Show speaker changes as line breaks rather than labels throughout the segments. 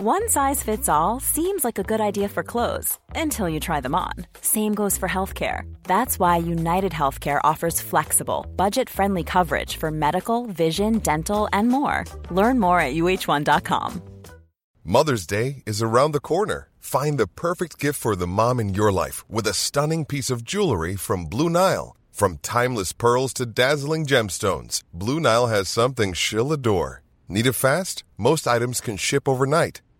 One size fits all seems like a good idea for clothes until you try them on. Same goes for healthcare. That's why United Healthcare offers flexible, budget friendly coverage for medical, vision, dental, and more. Learn more at uh1.com.
Mother's Day is around the corner. Find the perfect gift for the mom in your life with a stunning piece of jewelry from Blue Nile. From timeless pearls to dazzling gemstones, Blue Nile has something she'll adore. Need it fast? Most items can ship overnight.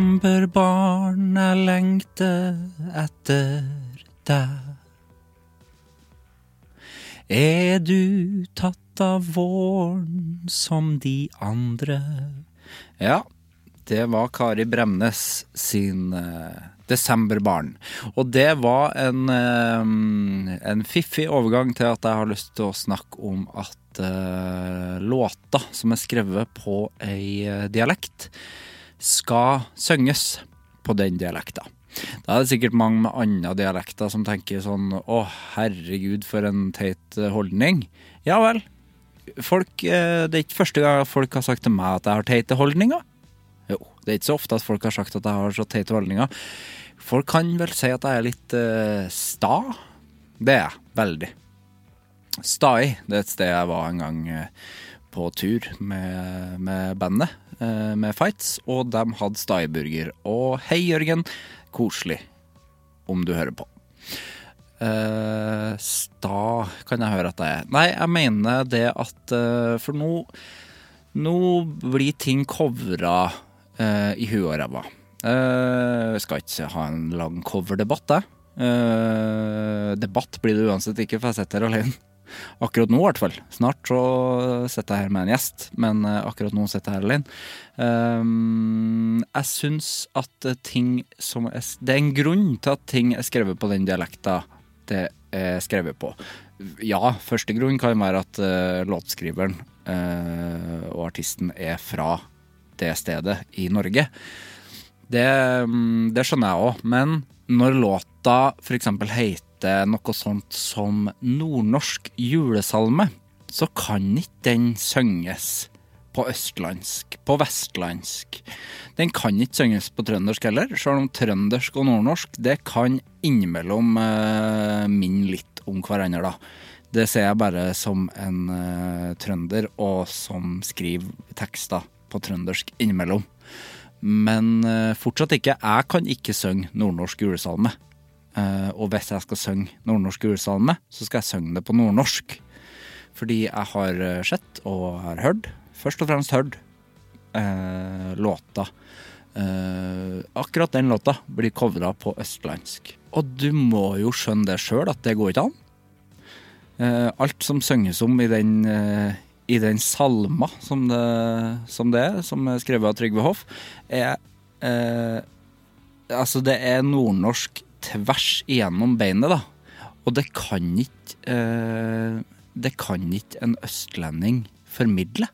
Desemberbarn, jeg lengter etter deg. Er du tatt av våren som de andre? Ja, det var Kari Bremnes sin eh, Desemberbarn. Og det var en, eh, en fiffig overgang til at jeg har lyst til å snakke om at eh, låta som er skrevet på ei eh, dialekt, skal synges på den dialekta. Da er det sikkert mange med andre dialekter som tenker sånn Å, herregud, for en teit eh, holdning. Ja vel. Folk, eh, det er ikke første gang folk har sagt til meg at jeg har teite holdninger. Jo, det er ikke så ofte at folk har sagt at jeg har så teite holdninger. Folk kan vel si at jeg er litt eh, sta. Det er jeg. Veldig. Stai, det er et sted jeg var en gang eh, på tur med, med bandet, eh, med Fights, og de hadde Stai-burger. Og hei, Jørgen. Koselig, om du hører på. Eh, sta kan jeg høre at jeg er. Nei, jeg mener det at eh, For nå, nå blir ting covra eh, i huet og ræva. Eh, skal ikke ha en lang coverdebatt, jeg. Eh, debatt blir det uansett ikke, for jeg sitter her alene. Akkurat nå, i hvert fall. Snart så sitter jeg her med en gjest, men eh, akkurat nå sitter jeg her alene. Ehm, jeg syns at eh, ting som er s- Det er en grunn til at ting er skrevet på den dialekta det er skrevet på. Ja, første grunn kan være at eh, låtskriveren eh, og artisten er fra det stedet i Norge. Det, mm, det skjønner jeg òg, men når låta f.eks. heter noe sånt som nordnorsk julesalme, så kan ikke den synges på østlandsk, på vestlandsk. Den kan ikke synges på trøndersk heller, sjøl om trøndersk og nordnorsk det kan innimellom eh, minne litt om hverandre, da. Det ser jeg bare som en eh, trønder, og som skriver tekster på trøndersk innimellom. Men eh, fortsatt ikke. Jeg kan ikke synge nordnorsk julesalme. Eh, og hvis jeg skal synge nordnorsk julesalme, så skal jeg synge det på nordnorsk. Fordi jeg har eh, sett og har hørt, først og fremst hørt, eh, låta eh, Akkurat den låta blir covra på østlandsk. Og du må jo skjønne det sjøl at det går ikke an. Eh, alt som synges om i den, eh, i den salma som det, som det er, som er skrevet av Trygve Hoff, er eh, Altså, det er nordnorsk tvers igjennom beinet, da. Og det kan ikke eh, Det kan ikke en østlending formidle.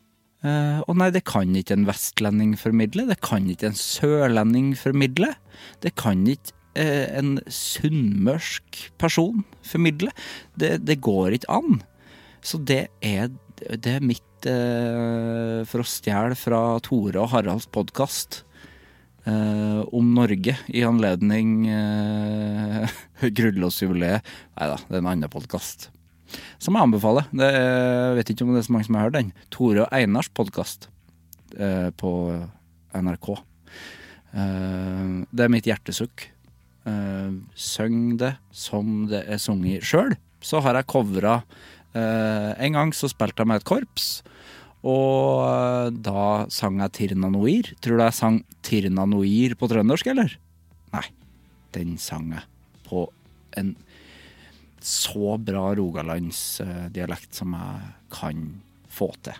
Eh, og nei, det kan ikke en vestlending formidle. Det kan ikke en sørlending formidle. Det kan ikke eh, en sunnmørsk person formidle. Det, det går ikke an. Så det er, det er mitt eh, For å stjele fra Tore og Haralds podkast eh, om Norge i anledning eh, grunnlovsjubileet Nei da, det er en annen podkast. Som jeg anbefaler. Det, er- jeg vet ikke om det er så mange som har hørt den. Tore og Einars podkast eh, på NRK. Eh, det er mitt hjertesukk. Eh, Søng det som det er sunget sjøl. Så har jeg covra eh, En gang så spilte jeg med et korps. Og eh, eh, da sang jeg Tirna Noir. Tror du jeg sang Tirna Noir på trøndersk, eller? Nei. Den sang jeg på en så bra rogalandsdialekt som jeg kan få til.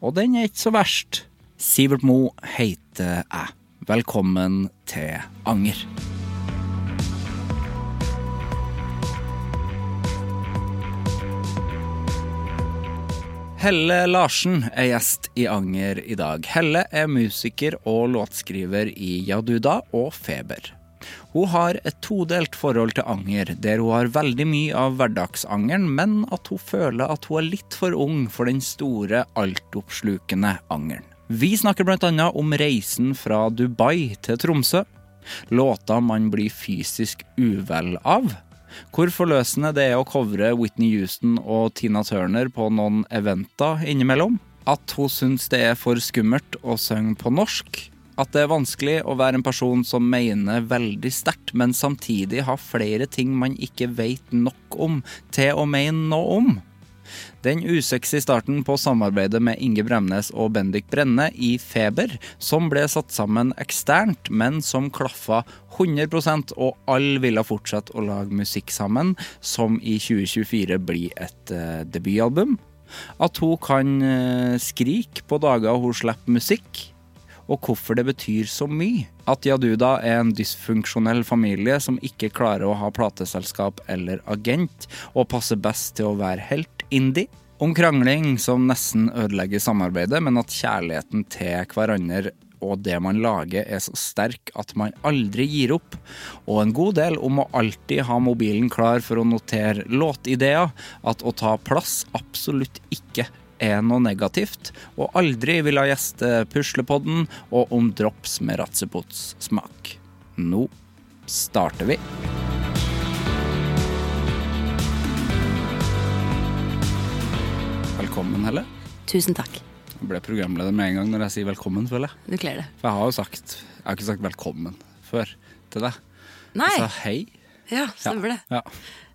Og den er ikke så verst. Sivert Mo heter jeg. Velkommen til Anger. Helle Larsen er gjest i Anger i dag. Helle er musiker og låtskriver i Jaduda og Feber. Hun har et todelt forhold til anger, der hun har veldig mye av hverdagsangeren, men at hun føler at hun er litt for ung for den store, altoppslukende angeren. Vi snakker bl.a. om reisen fra Dubai til Tromsø, låter man blir fysisk uvel av, hvor forløsende det er å covre Whitney Houston og Tina Turner på noen eventer innimellom. At hun syns det er for skummelt å synge på norsk. At det er vanskelig å være en person som mener veldig sterkt, men samtidig har flere ting man ikke vet nok om til å mene noe om. Den usexy starten på samarbeidet med Inge Bremnes og Bendik Brenne i Feber, som ble satt sammen eksternt, men som klaffa 100 og alle ville fortsette å lage musikk sammen, som i 2024 blir et eh, debutalbum. At hun kan eh, skrike på dager hun slipper musikk og hvorfor det betyr så mye. At Yaduda er en dysfunksjonell familie som ikke klarer å ha plateselskap eller agent, og passer best til å være helt indie. Om krangling som nesten ødelegger samarbeidet, men at kjærligheten til hverandre og det man lager er så sterk at man aldri gir opp, og en god del om å alltid ha mobilen klar for å notere låtideer, at å ta plass absolutt ikke er noe negativt, og aldri vil ha gjeste Puslepodden og om drops med Ratsepots smak. Nå starter vi. Velkommen, Helle.
Tusen takk.
Jeg ble programleder med en gang når jeg sier velkommen, føler jeg.
Du kler det.
For jeg har jo sagt Jeg har ikke sagt velkommen før til deg.
Nei!
Jeg sa hei.
Altså, Ja,
Ja.
stemmer det.
Ja.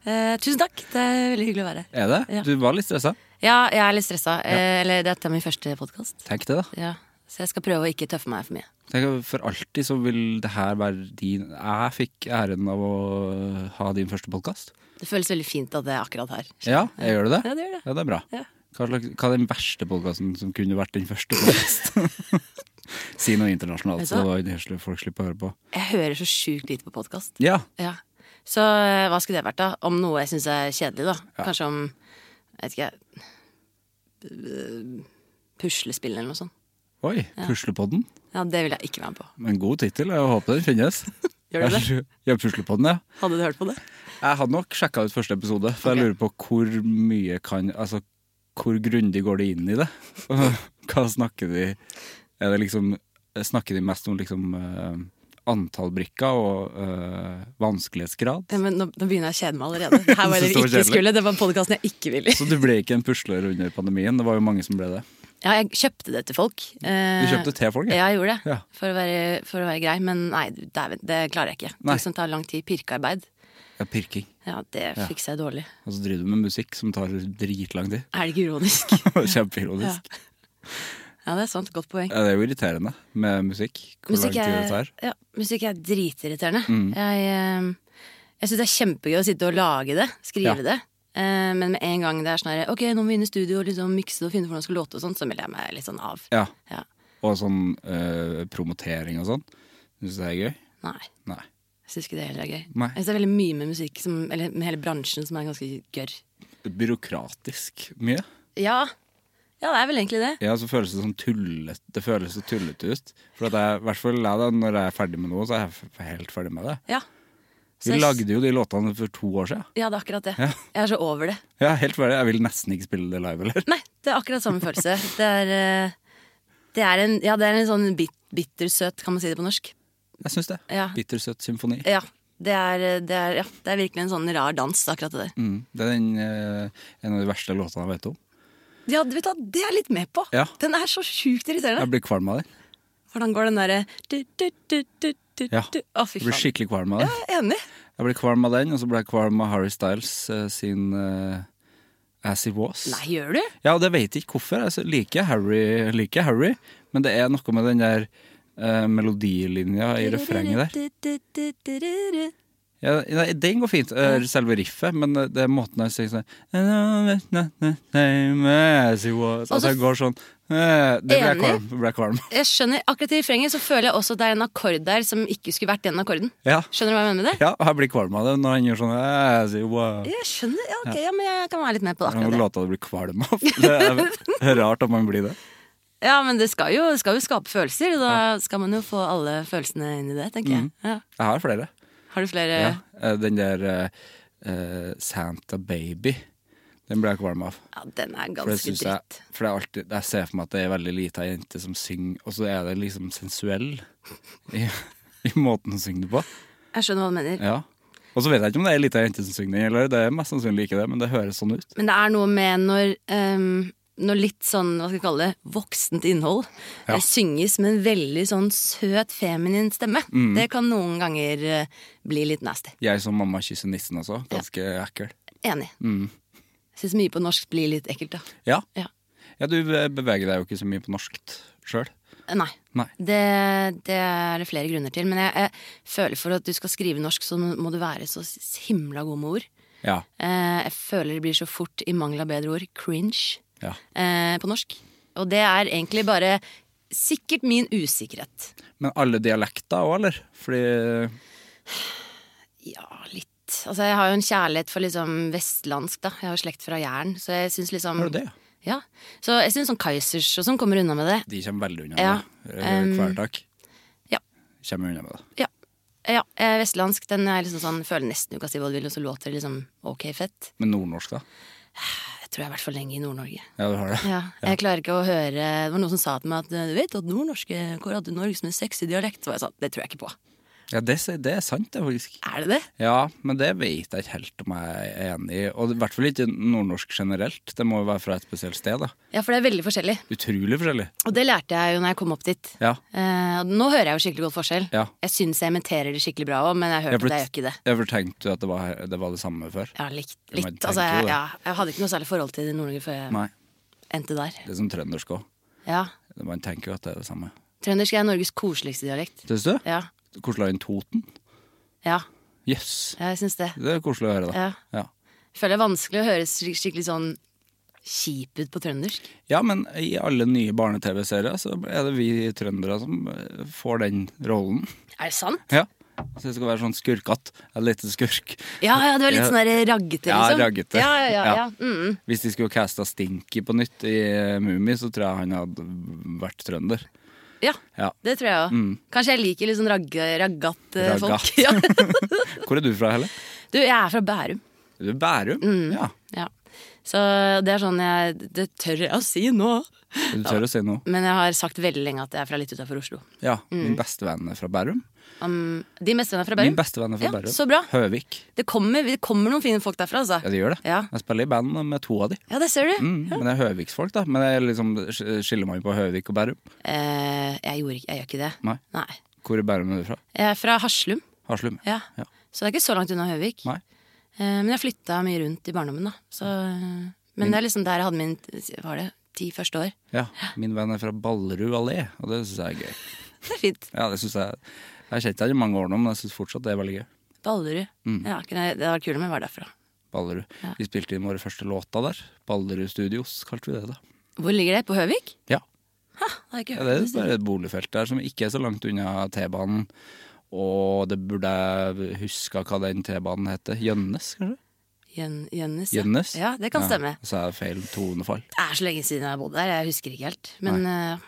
Eh, tusen takk. Det er veldig hyggelig å være her.
Er det?
Ja.
Du var litt stressa.
Ja, jeg er litt stressa. Eh, eller dette er min første podkast.
Tenk det, da.
Ja. Så jeg skal prøve å ikke tøffe meg for mye.
Tenk, at for alltid så vil det her være din Jeg fikk æren av å ha din første podkast.
Det føles veldig fint at det er akkurat her.
Ja, jeg gjør du det?
Ja, det gjør det.
Ja, det er bra.
Ja.
Hva, slags, hva er den verste podkasten som kunne vært den første podkasten? si noe internasjonalt,
Vet du
så
hva?
det slipper folk slipper å høre på.
Jeg hører så sjukt lite på podkast.
Ja,
Ja. Så eh, hva skulle det vært, da? Om noe jeg syns er kjedelig, da. Kanskje om jeg vet ikke jeg, eh, Puslespill eller noe sånt.
oi, Puslepodden.
Ja, det vil jeg ikke være med på.
En god tittel, jeg håper den finnes.
Gjør du det?
Ja, Puslepodden, ja.
Hadde du hørt på det?
Jeg hadde nok sjekka ut første episode, for jeg lurer på hvor mye kan Altså, hvor grundig går de inn i det? Hva snakker de Er det liksom Snakker de mest om liksom eh, antall brikker og eh, vanskelighetsgrad?
Ja, men nå, nå begynner jeg å kjede meg allerede. Det Her var det
Synes det var
vi ikke
kjedelig.
skulle. Det var podkasten jeg ikke ville.
Så du ble ikke en pusler under pandemien? Det var jo mange som ble det.
Ja, jeg kjøpte det til folk.
Du kjøpte til folk,
Eh, Ja, jeg gjorde det.
Ja.
For, å være, for å være grei. Men nei, dæven, det klarer jeg ikke.
Nei.
Ting som tar lang tid. Pirkearbeid.
Ja, pirking.
Ja, det fikser jeg dårlig.
Og så driver du med musikk som tar dritlang tid.
Er det ikke ironisk?
Kjempeironisk.
ja, det er sant. Godt poeng.
Ja. det er jo irriterende med musikk. Hvor lang
Musikk
tid det
er,
tar.
ja, musikk er dritirriterende.
Mm.
Jeg, eh, jeg syns det er kjempegøy å sitte og lage det. Skrive
Ja.
det. Eh, Men med en gang det er sånn her Ok, nå må vi inn i studio og liksom mikse det og finne hvordan det skal låte, og sånn, så melder jeg meg litt sånn av.
Ja.
Ja.
Og sånn eh, promotering og sånn. Syns du det er gøy?
Nei.
Nei.
Jeg syns ikke det heller er gøy.
Nei.
Jeg synes det er veldig mye med musikk, som, eller med hele bransjen, som er ganske gørr.
Byråkratisk mye.
Ja. ja, det er vel egentlig det.
Ja, så føles det sånn tullet, det føles så tullete ut. For at jeg, i hvert fall jeg da, når jeg er ferdig med noe, så er jeg f- helt ferdig med det.
Ja. Så
Vi
jeg-
lagde jo de låtene for to år siden.
Ja, det er akkurat det.
Ja.
Jeg er så over det.
Ja, helt ferdig. Jeg vil nesten ikke spille det live, eller?
Nei, det er akkurat samme følelse. Det er, eh, det er, en, ja, det er en sånn bit, bittersøt, kan man si det på norsk.
Jeg syns det.
Ja.
Bittersøt symfoni.
Ja. Det er, eh, det er, ja, det er virkelig en sånn rar dans, akkurat det der.
Mm, det er den, eh, en av de verste låtene jeg vet om.
Ja, du vet hva, det er jeg litt med på.
Ja.
Den er så sjukt irriterende.
Jeg blir kvalm av den.
Hvordan går den derre du, du, du, du, du,
Ja.
du. Å, fy
Jeg blir
faen.
skikkelig kvalm av den.
Jeg er enig.
Jeg ble kvalm av den, og så ble jeg kvalm av Harry Styles eh, sin eh, As It Was.
Nei, gjør du?
Ja, det vet jeg ikke hvorfor. Jeg liker Harry, liker Harry men det er noe med den der eh, melodilinja i refrenget der. Ja, nei, den går fint, eh, selve riffet, men eh, det er måten han sier sånn As it was. Altså, det går sånn eh, Det ble jeg kvalm. det Ble jeg kvalm.
Jeg skjønner, Akkurat i refrenget så føler jeg også at det er en akkord der som ikke skulle vært den akkorden.
Ja.
Skjønner du hva jeg mener med det?
Ja, og jeg blir kvalm av det når han gjør sånn As it was.
Jeg skjønner, ja, ok, ja, men jeg kan være litt med på
Det
det.
er noen
akkurat det.
låter du blir kvalm av. Det er rart at man blir det.
Ja, men det skal jo, det skal jo skape følelser, og da skal man jo få alle følelsene inn i det, tenker jeg. Ja.
Jeg har flere.
Har du flere
Mm. Ja, eh, den der eh, eh, Santa Baby. Den ble jeg kvalm av.
Ja, den er
For, det
ganske
synes jeg,
dritt.
for det er alltid, jeg ser for meg at det er veldig lita jente som synger, og så er det liksom sensuell i, i måten hun synger det på.
Jeg skjønner hva du mener.
Ja. Og så vet jeg ikke om det er ei lita jente som synger den, eller det er mest sannsynlig ikke det, men det høres sånn ut.
Men det er noe med når, ehm, når litt sånn, hva skal jeg kalle det, voksent innhold eh, synges med en veldig sånn søt, feminin stemme.
Mm.
Det kan noen ganger eh, bli litt nasty.
Jeg som mamma kysser nissen også. Ganske ekkel.
Enig.
Mm.
Syns mye på norsk blir litt ekkelt, da.
Ja.
Ja.
ja, du beveger deg jo ikke så mye på norskt sjøl.
Eh, Nei.
Nei.
Det, det er det flere grunner til. Men jeg, jeg føler for at du skal skrive norsk, så må du være så himla god med ord.
Ja.
Eh, jeg føler det blir så fort, i mangel av bedre ord, cringe
ja.
eh, på norsk. Og det er egentlig bare sikkert min usikkerhet.
Men alle dialekter òg, eller? Fordi
Ja, litt. Altså, jeg har jo en kjærlighet for liksom vestlandsk, da. Jeg har jo slekt fra Jæren, så jeg syns liksom
Har du det, ja?
Ja. Så jeg syns sånn Kaizers og sånn kommer unna med det.
De kommer veldig unna
Ja,
med det. Eh, Hver dag.
ja.
Kommer unna med det.
Ja. ja eh, vestlandsk, den er liksom sånn Føler nesten du kan si hva du vil, og så låter det liksom ok fett.
Men nordnorsk, da?
Jeg tror jeg har vært for lenge i Nord-Norge.
Ja, du har det?
Ja, jeg klarer ikke å høre Det var noen som sa til meg at eh, du vet at nordnorske kårer hadde Norge som en sexy dialekt. Så var jeg sånn, det tror jeg ikke på.
Ja, det, s- det er sant, det, faktisk.
Er det det?
Ja, men det vet jeg ikke helt om jeg er enig i. Og i hvert fall ikke nordnorsk generelt. Det må jo være fra et spesielt sted, da.
Ja, for det er veldig forskjellig.
Utrolig forskjellig.
Og det lærte jeg jo når jeg kom opp dit.
Ja.
Eh, og nå hører jeg jo skikkelig godt forskjell.
Ja.
Jeg syns jeg imiterer det skikkelig bra òg, men jeg har hørt at jeg gjør ikke det.
Jeg tenkte du at det var, det var det samme før?
Ja, likt,
Du må
litt.
tenke
Altså,
på
jeg,
det.
ja, jeg hadde ikke noe særlig forhold til Nord-Norge før jeg
Nei.
endte der.
Det er som trøndersk òg.
Ja.
Man tenker jo at det er det samme.
Trøndersk er Norges koseligste dialekt.
Syns du?
Ja.
Koselig enn Toten?
ja
Jøss.
jeg syns det.
Det er koselig å høre, da.
Ja. Føler det er vanskelig å høres skik- skikkelig sånn kjip ut på trøndersk.
Ja, men i alle nye barne-TV-serier så er det vi trøndere som eh, får den rollen.
Er det sant?
Ja. Så jeg skal være sånn skurkatt. En liten skurk.
Ja, ja, du er litt
Ja.
sånn der raggete,
Ja,
liksom.
raggete.
Ja, ja, ja, ja.
Ja.
Mm.
Hvis de skulle casta Stinky på nytt i eh, Mummi, så tror jeg han hadde vært trønder.
ja.
Ja.
det tror jeg òg.
Mm.
Kanskje jeg liker litt sånn ragg, raggatt eh, folk.
Raggatt.
Ja.
Hvor er du fra, Helle?
Du, jeg er fra Bærum.
Er du Bærum?
Mm.
Ja.
Ja. Så det er sånn jeg Det tør jeg å si nå.
Er Du tør å si noe?
Men jeg har sagt veldig lenge at jeg er fra litt utafor Oslo.
Ja. Min bestevenn er fra Bærum.
Um, de meste er fra Mm. Bærum.
Min bestevenn er fra
Ja,
Bærum.
så bra.
Høvik.
Det kommer, det kommer noen fine folk derfra,
Ja,
altså.
det gjør det.
Ja.
Jeg spiller i band med to av de.
Ja, det ser du.
Mm, Men det er høviksfolk, da. Men det er liksom, skiller man jo på Høvik og Bærum?
Eh, jeg, gjorde, ikke- jeg gjør ikke det.
Nei. Hvor i Bærum er du fra?
Jeg er fra Haslum.
Haslum?
Ja.
Ja.
Så det er ikke så langt unna Høvik.
Nei.
Eh, men jeg flytta mye rundt i barndommen, da. Så, eh, men det er liksom der jeg hadde min Var det ti første år?
Ja, min venn er fra Ballerud allé, og det syns jeg er gøy.
Det er fint.
Ja, det synes Jeg jeg har kjent deg i mange år nå, men jeg syns fortsatt det er veldig gøy.
Ballerud.
Mm.
Ja, kunne jeg- det var kult om jeg var derfra.
Ballerud. Vi spilte inn våre første låter der. Ballerud Studios, kalte vi det da.
Hvor ligger det? På Høvik?
Ja.
Det har jeg ikke
ja det
hørt om
er
det stedet.
bare et boligfelt der som ikke er så langt unna T-banen. Og det burde jeg huska hva den T-banen heter. Gjønnes, kanskje?
Jøn- Jønnes. ja.
Gjønnes?
Ja, det kan stemme.
Ja, så er det feil tonefall.
Det er så lenge siden jeg har bodd der. Jeg husker ikke helt. Men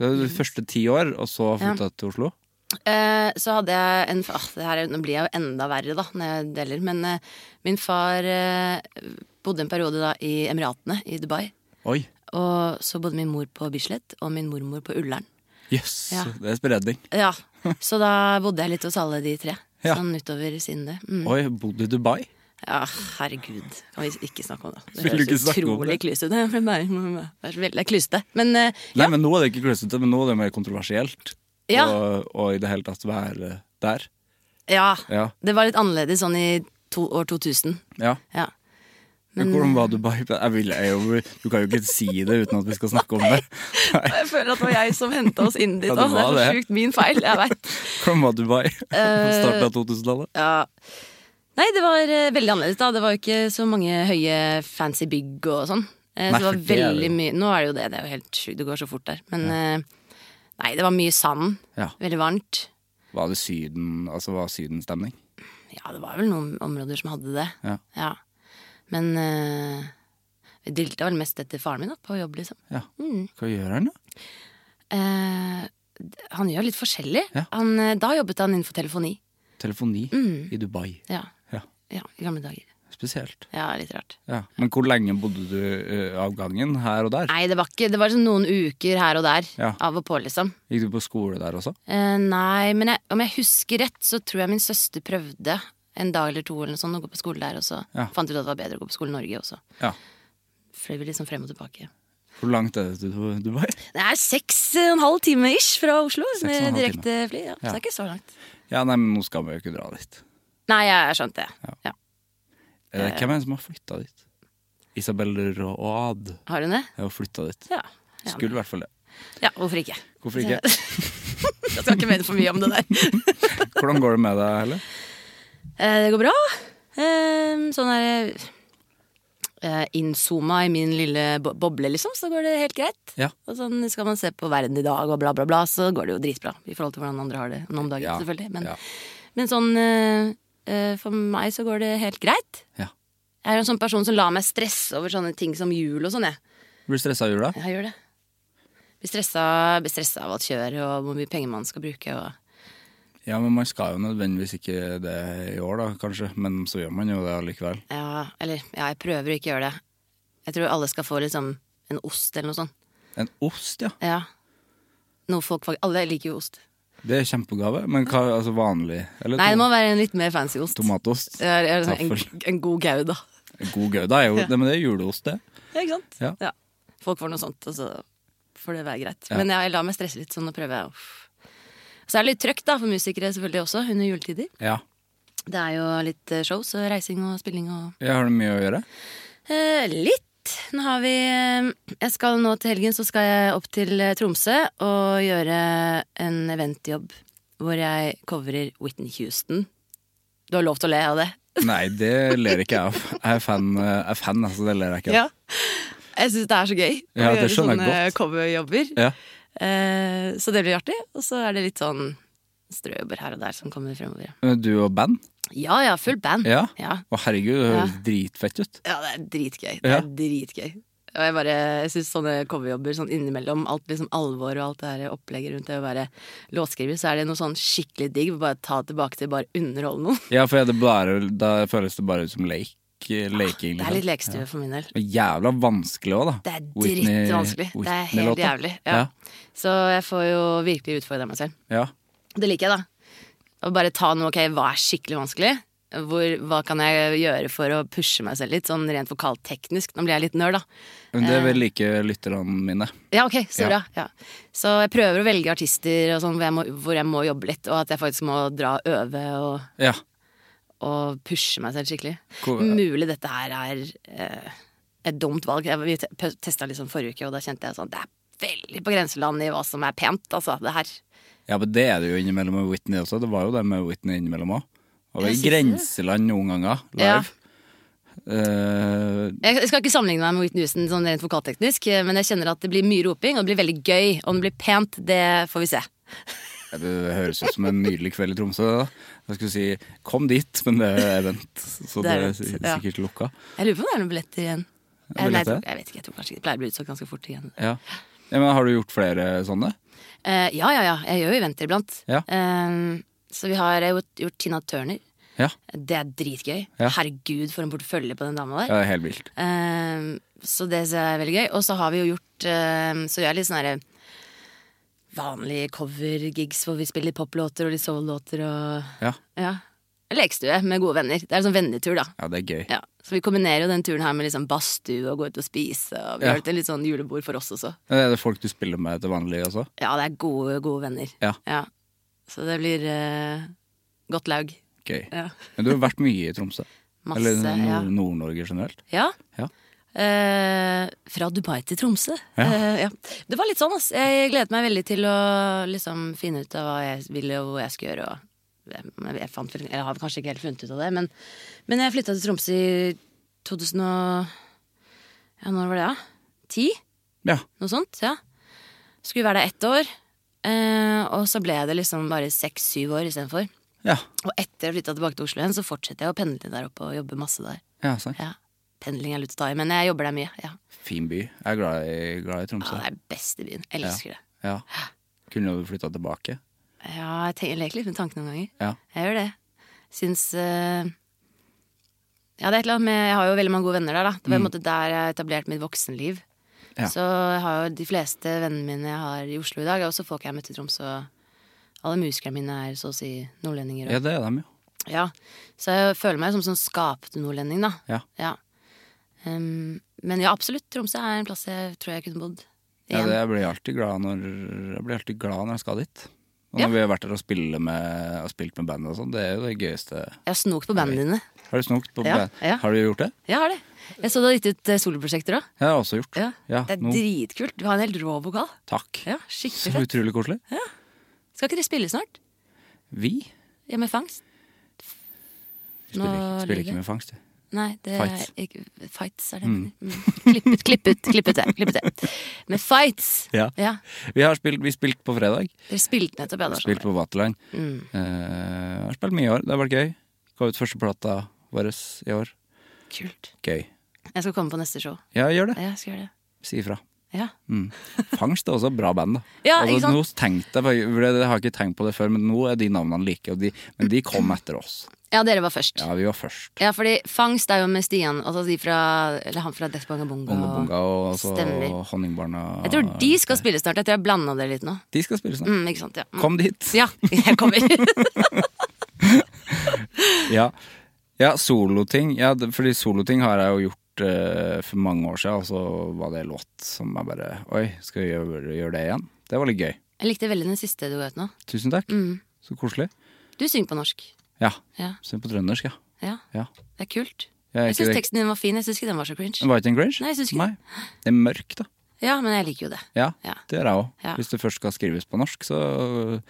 Det var de første ti år, og så flytta jeg til Oslo.
eh, eh, så hadde jeg en far det her, er- Nå blir jeg jo enda verre, da, når jeg deler. Men eh, min far eh, bodde en periode da i Emiratene, i Dubai.
Oi!
Og så bodde min mor på Bislett, og min mormor på Ullern.
Jøss,
Ja.
det er spredning.
Ja, Så da bodde jeg litt hos alle de tre.
Ja.
Sånn utover siden det. Mm.
Oi, bodde i Dubai?
Ja, herregud. Kan vi ikke snakke om det? Det
Vil du ikke
høres
snakke om
utrolig
det?
klysete ut. Det er veldig klysete. Men eh,
Nei, men nå er det ikke kløsete, men nå er det mer kontroversielt.
Ja.
Og, og i det hele tatt være der.
Ja,
Ja.
det var litt annerledes sånn i to, år 2000.
Ja.
Ja. Men-
Hvordan var du bare jeg vil, jeg, jo- Du kan jo ikke si det uten at vi skal snakke om det. Nei,
Jeg føler at det var jeg som henta oss inn dit
Ja, det
òg. Det
var
er så
det.
sjukt min feil. Jeg vet.
Hvordan var Dubai på
Eh,
starten av 2000-tallet?
Ja. Nei, det var eh, veldig annerledes da. Det var jo ikke så mange høye fancy bygg og sånn. Eh,
Nei,
så det
for
var
det er det
veldig
jo.
mye Nå er det jo det. Det er jo helt sjukt. Det går så fort der. Men eh, nei, det var mye sand.
Ja.
Veldig varmt.
Var det Syden, altså var sydenstemning?
Ja, det var vel noen områder som hadde det.
Ja.
Men eh, jeg dilta vel mest etter faren min da, på jobb, liksom.
Ja. Hva gjør han, da?
Eh, d- han gjør litt forskjellig.
Ja.
Han, eh, da jobbet han innenfor telefoni.
Telefoni
Mm.
i Dubai.
Ja.
Ja,
ja, i gamle dager.
Spesielt.
Ja, litt rart.
Ja. Men hvor lenge bodde du eh, av gangen her og der?
Nei, det var ikke Det var liksom noen uker her og der.
Ja.
Av og på, liksom.
Gikk du på skole der også?
Eh, nei, men jeg, om jeg husker rett, så tror jeg min søster prøvde en dag eller to eller noe sånt å gå på skole der, og så
Ja.
fant vi ut at det var bedre å gå på skole i Norge også.
Ja.
Fløy vi liksom frem og tilbake.
Hvor langt er det til Dubai?
Det er seks og en halv time ish fra Oslo
og en halv
med
time.
direkte fly. Ja. Så
Ja.
det er ikke så langt.
Ja, nei, men nå skal vi jo ikke dra dit.
Nei, jeg skjønte det. Ja.
Eh, Hvem er det som har flytta dit? Isabel Road
Har hun det?
har jo flytta dit.
Ja. Ja,
Skulle i hvert fall det.
ja hvorfor ikke?
Hvorfor ikke?
Jeg skal ikke mene for mye om det der.
Hvordan går det med deg, Helle?
Eh, Det går bra. Eh, Sånn er eh, innzooma i min lille bo- boble, liksom, så går det helt greit.
Ja.
Og sånn skal man se på verden i dag og bla, bla, bla, så går det jo dritbra. I forhold til hvordan andre har det nå om dagen,
Ja.
selvfølgelig. Men,
Ja.
men sånn eh, eh, for meg så går det helt greit.
Ja.
Jeg er en sånn person som lar meg stresse over sånne ting som jul og sånn, jeg.
Blir du stressa av jula?
Jeg gjør det. Blir stressa, blir stressa av alt kjøret og hvor mye penger man skal bruke. Og...
Ja, men man skal jo nødvendigvis ikke det i år, da, kanskje. Men så gjør man jo det allikevel.
Ja, eller ja, jeg prøver å ikke gjøre det. Jeg tror alle skal få liksom en ost eller noe sånt.
En ost, ja.
Ja. Noe folk fak- Alle liker jo ost.
Det er kjempegave. Men hva, altså vanlig? Eller
Nei, det
tom-
må være en litt mer fancy ost.
tomatost?
Ja, eller sånn
Taffel.
en, en god gouda.
God gouda er jo det, men det er juleost, det.
Ja, ikke sant?
Ja.
Folk får noe sånt, og så får det være greit. Men jeg lar meg stresse litt, sånn og prøver jeg. å- Så er det litt trøkk da, for musikere selvfølgelig også, under juletider.
Ja.
Det er jo litt eh, shows og reising og spilling og
Jeg har det mye å gjøre.
Eh, litt. Nå har vi eh, Jeg skal nå til helgen så skal jeg opp til eh, Tromsø og gjøre en eventjobb hvor jeg coverer Whitney Houston. Du har lov til å le av det?
Nei, det ler ikke jeg av. Jeg er fan, eh, jeg er fan altså det ler jeg ikke av.
Ja. Jeg syns det er så gøy å
Ja, det
gjøre
skjønner jeg
sånne
godt.
coverjobber.
Ja.
Eh, så det blir artig. Og så er det litt sånn strøjobber her og der som kommer fremover.
Men Du og band?
Ja ja, full band.
Ja.
ja.
Å herregud, det høres
Ja.
dritfett ut.
Ja, det er dritgøy. Det
Ja.
er dritgøy. Og jeg bare, jeg syns sånne coverjobber sånn innimellom, alt liksom alvor og alt det her opplegget rundt det å være låtskriver, så er det noe sånn skikkelig digg. Bare ta tilbake til bare underholde noen.
Ja, for er det bare, da føles det bare ut som leik. Leking,
Det er litt lekestue for min del.
Det er Jævla vanskelig òg, da.
Det er
Whitney-
drittvanskelig. Det er helt
Whitney-låta.
jævlig. Ja. Så jeg får jo virkelig utfordre meg selv.
Ja.
Det liker jeg, da. Å bare ta noe ok, hva er skikkelig vanskelig? Hvor, hva kan jeg gjøre for å pushe meg selv litt, sånn rent vokalteknisk? Nå blir jeg litt nerd, da.
Men det vil like lytterne mine.
Ja, ok, så
Ja.
bra. Ja. Så jeg prøver å velge artister og sånn, hvor, jeg må, hvor jeg må jobbe litt, og at jeg faktisk må dra og øve og,
Ja.
og pushe meg selv skikkelig.
Hvor-
Mulig dette her er eh, et dumt valg. Jeg, vi te- testa liksom forrige uke, og da kjente jeg sånn Det er veldig på grenseland i hva som er pent, altså, det her.
ja, men det er det jo innimellom med Whitney også. Det var jo det med Whitney innimellom òg. Og det er
Jeg synes det.
grenseland noen ganger,
Ja.
live. Eh,
Jeg jeg skal ikke sammenligne meg med Whitney Houston sånn rent vokalteknisk, eh, men jeg kjenner at det blir mye roping, og det blir veldig gøy. Om det blir pent, det får vi se.
det høres ut som en nydelig kveld i Tromsø. Da. Jeg skulle si 'kom dit', men det er event, så
Det
det
er
er
event,
si-
ja.
sikkert lukka.
Jeg lurer på om det er noen billetter igjen. Eh, Nei, jeg,
Billetter?
tror, jeg vet ikke, jeg tror kanskje ikke det pleier å bli utsolgt ganske fort igjen.
Ja. ja, Men har du gjort flere sånne?
Eh, ja, ja, ja. Jeg gjør jo eventer iblant.
Ja.
Eh, så vi har eh, gjort, gjort Tina Turner.
Ja.
Det er dritgøy.
Ja.
Herregud, for en portefølje på den dama der.
ja det er helt vilt.
Eh, så det synes jeg er veldig gøy. Og så har vi jo gjort eh, Så gjør jeg litt sånne her vanlige covergigs hvor vi spiller poplåter og litt soul-låter og
Ja.
Ja. Lekestue med gode venner. Det er en sånn vennetur, da.
ja, det er gøy.
Ja. Så vi kombinerer jo den turen her med liksom badstue og gå ut og spise. Og vi
Ja.
har gjort en litt sånn julebord for oss også.
Er det folk du spiller med til vanlig også?
Ja, det er gode, gode venner.
Ja.
Så det blir eh, godt laug.
Gøy.
Ja.
Men du har vært mye i Tromsø.
Masse,
Eller Nord-
ja.
Nord-Norge generelt.
Ja.
Ja.
Eh, fra Dubai til Tromsø. Eh, ja. Det var litt sånn, ass. Jeg gledet meg veldig til å liksom finne ut av hva jeg ville og hvor jeg skulle gjøre. Og jeg, jeg, fant, vel- jeg har kanskje ikke helt funnet ut av det, men, men jeg flytta til Tromsø i 2000 og Ja, når var det, da? Ti?
Ja.
Noe sånt, ja. Skulle være der ett år. Eh, og så ble det liksom bare seks-syv år istedenfor.
Ja,
Og etter jeg flytta tilbake til Oslo igjen, så fortsetter jeg å pendle der oppe og jobbe masse der.
ja sant.
Ja. Pendling er lurt å ta i, men jeg jobber der mye. Ja.
Fin by. Jeg er glad i, glad i
ja,
Tromsø.
Det er best i byen. Jeg elsker det.
Ja. Kunne du flytta tilbake?
Ja, jeg, tenker, jeg leker litt med tanken noen ganger.
Ja.
Jeg gjør det. Syns eh, Ja, det er et eller annet med Jeg har jo veldig mange gode venner der, da. Det var på en måte der jeg etablerte mitt voksenliv.
Mm. Ja.
Så jeg har jo de fleste vennene mine jeg har i Oslo i dag, er også folk jeg har møtt i Tromsø. Alle musikerne mine er så å si nordlendinger.
Ja,
Og,
det er de jo.
ja. Så jeg føler meg som sånn skapt nordlending, da.
Ja.
Ja. Ehm, men ja, absolutt. Tromsø er en plass jeg tror jeg kunne bodd.
Ja,
igjen.
det, jeg, blir alltid glad når, jeg blir alltid glad når jeg skal dit. Og når
Ja.
vi har vært der og, spille med, og spilt med bandet og sånn, det er jo det gøyeste.
Jeg har snokt på bandene dine.
Har du snokt på
Ja,
band?
ja.
Har du gjort det?
Jeg har det. Jeg så du har gitt ut eh, soloprosjekter òg.
Jeg har jeg også gjort.
det er
nå,
dritkult. Du har en helt rå vokal.
takk.
Ja,
Så
Skikkelig fett.
utrolig koselig.
Skal ikke dere spille snart?
Vi
Hjemme i fangst?
Vi spiller,
Nå
ikke, spiller
lyver
ikke med fangst. vi.
Nei, det
Fights.
er ikke, Fights er det. jeg mener. Mm. Klippet, klippet, klippet det. Klippet det. Med fights!
Ja.
Ja.
Vi har spilt, vi spilte på fredag.
Dere spilte nettopp, ja. det var
Spilt på Vaterland.
Mm.
Eh, har spilt mye i år. Det har vært gøy. Ga ut første plata vår i år.
sånn. Kult.
Gøy.
Jeg skal komme på neste show.
Ja, gjør det.
Ja, jeg skal gjøre det.
Si ifra.
Ja.
Mm. Fangst er også et bra band, da.
Ja,
altså,
ikke sant?
Nå tenkte jeg, faktisk- for det, det har jeg ikke tenkt på det før, men nå er de navnene like, og de, men de kom etter oss.
ja, dere var først.
Ja, vi var først.
Ja, fordi Fangst er jo med Stian, altså de fra, eller han fra Death Bonga Bonga.
Bonga Bonga og så
Stemmer.
Honningbarna.
Jeg tror de skal spille snart. Jeg tror jeg blanda det litt nå.
De skal spille snart.
Mm, ikke sant, ja. Mm.
Kom dit!
Ja, jeg kommer.
Ja, ja soloting. Ja, det- fordi soloting har jeg jo gjort eh, for mange år siden, og så var det låt som jeg bare Oi, skal vi gjøre, gjøre det igjen? Det var litt gøy.
Jeg likte veldig den siste du ga ut nå.
Tusen takk.
Mm.
Så koselig.
Du synger på norsk.
Ja.
Ja,
Synd på trøndersk, ja.
ja.
ja.
Det er kult.
Ja,
Jeg
ikke
syns
det-
teksten din var fin. Jeg syns ikke den var så cringe.
White and Grange?
Nei, jeg synes ikke
Nei. Det er mørk, da.
Ja, men jeg liker jo det.
Ja,
Ja.
det gjør jeg òg.
Ja.
Hvis det først skal skrives på norsk, så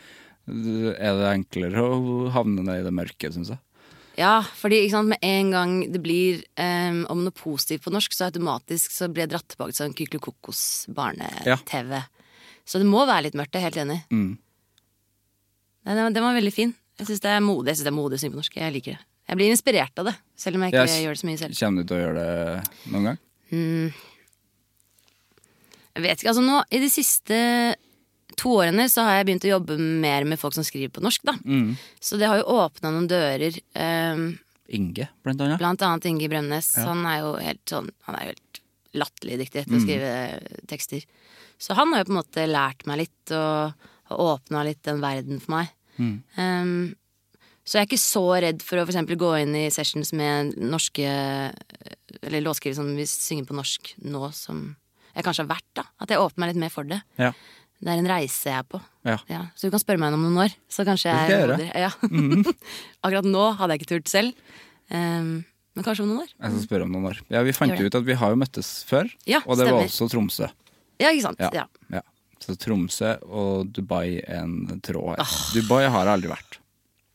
er det enklere å havne ned i det mørke, syns jeg.
Ja, fordi ikke sant, med en gang det blir em, om noe positivt på norsk, så automatisk så blir jeg dratt tilbake til sånn Kykle Kokos barne-TV. Så det må være litt mørkt, jeg er helt enig.
Mm.
Nei, den, var- den var veldig fin. Jeg syns det er modig Jeg synes det er modig å synge på norsk. Jeg liker det. Jeg blir inspirert av det, selv om jeg ikke
Jeg-
gjør det så mye selv.
Kommer du til å gjøre det noen gang?
Jeg vet ikke, altså nå I de siste to årene så har jeg begynt å jobbe mer med folk som skriver på norsk. da Så det har jo åpna noen dører. ehm,
Inge, blant annet.
blant annet Inge Bremnes. Han er jo helt sånn Han er jo helt latterlig dyktig til å skrive tekster. Så han har jo på en måte lært meg litt og, og åpna litt den verden for meg. Ehm, så jeg er ikke så redd for å for eksempel gå inn i sessions med norske Eller låtskrivere som vi synger på norsk nå, som jeg kanskje har vært. da At jeg åpner meg litt mer for det.
Ja.
Det er en reise jeg er på.
Ja.
Ja, så du kan spørre meg om noen år. Så kanskje
Det
jeg
skal Mhm.
moder- ja. Akkurat nå hadde jeg ikke turt selv. Ehm, men kanskje om noen år.
Jeg skal spørre om noen år. Ja, Vi fant
Mm. Gjør
jo
det.
ut at vi har jo møttes før,
Ja,
og det var
stemmer.
også Tromsø.
Ja, ikke sant?
Ja.
Ja.
Ja. Så Tromsø og Dubai er en tråd her. Dubai har jeg aldri vært.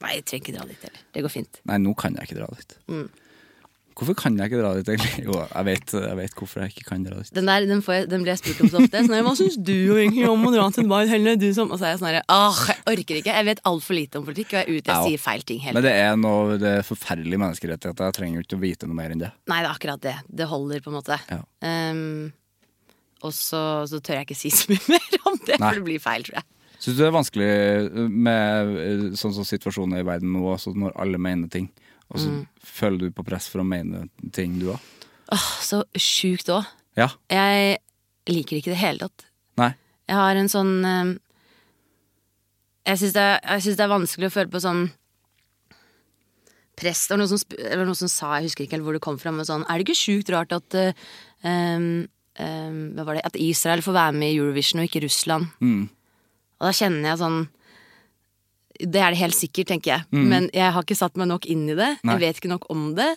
Nei, jeg trenger ikke dra dit heller. Det går fint.
Nei, nå kan jeg ikke dra dit.
Mm.
Hvorfor kan jeg ikke dra dit, egentlig? Jo, jeg vet, jeg vet hvorfor jeg ikke kan dra dit.
Den der, den, får jeg, den blir jeg spurt om så ofte. Sånn her, Hva syns du egentlig om å dra til Dubai? Helle, du som Og så er jeg sånn her Åh, jeg orker ikke. Jeg vet altfor lite om politikk, og jeg er ute. Jeg
Ja.
sier feil ting hele
Men det er noe det er forferdelige menneskerettigheter. Jeg trenger jo ikke å vite noe mer enn det.
Nei, det er akkurat det. Det holder, på en måte.
Ja.
Ehm, og så, så tør jeg ikke si så mye mer om det,
Nei.
for det blir feil, tror jeg.
Syns du det er vanskelig med eh, sånn som situasjonen er i verden nå, altså når alle mener ting, og så
Mm.
føler du på press for å mene ting du òg?
Åh, så sjukt òg.
Ja.
Jeg liker ikke det i det hele tatt.
Nei.
Jeg har en sånn eh, Jeg syns det, er- jeg synes det er vanskelig å føle på sånn press. Det var noen som, sp- det var noen som sa, jeg husker ikke helt hvor det kom fra, men sånn Er det ikke sjukt rart at eh, em, em, Hva var det? At Israel får være med i Eurovision og ikke Russland? Og da kjenner jeg sånn Det er det helt sikkert, tenker jeg. Men jeg har ikke satt meg nok inn i det.
Nei.
Jeg vet ikke nok om det.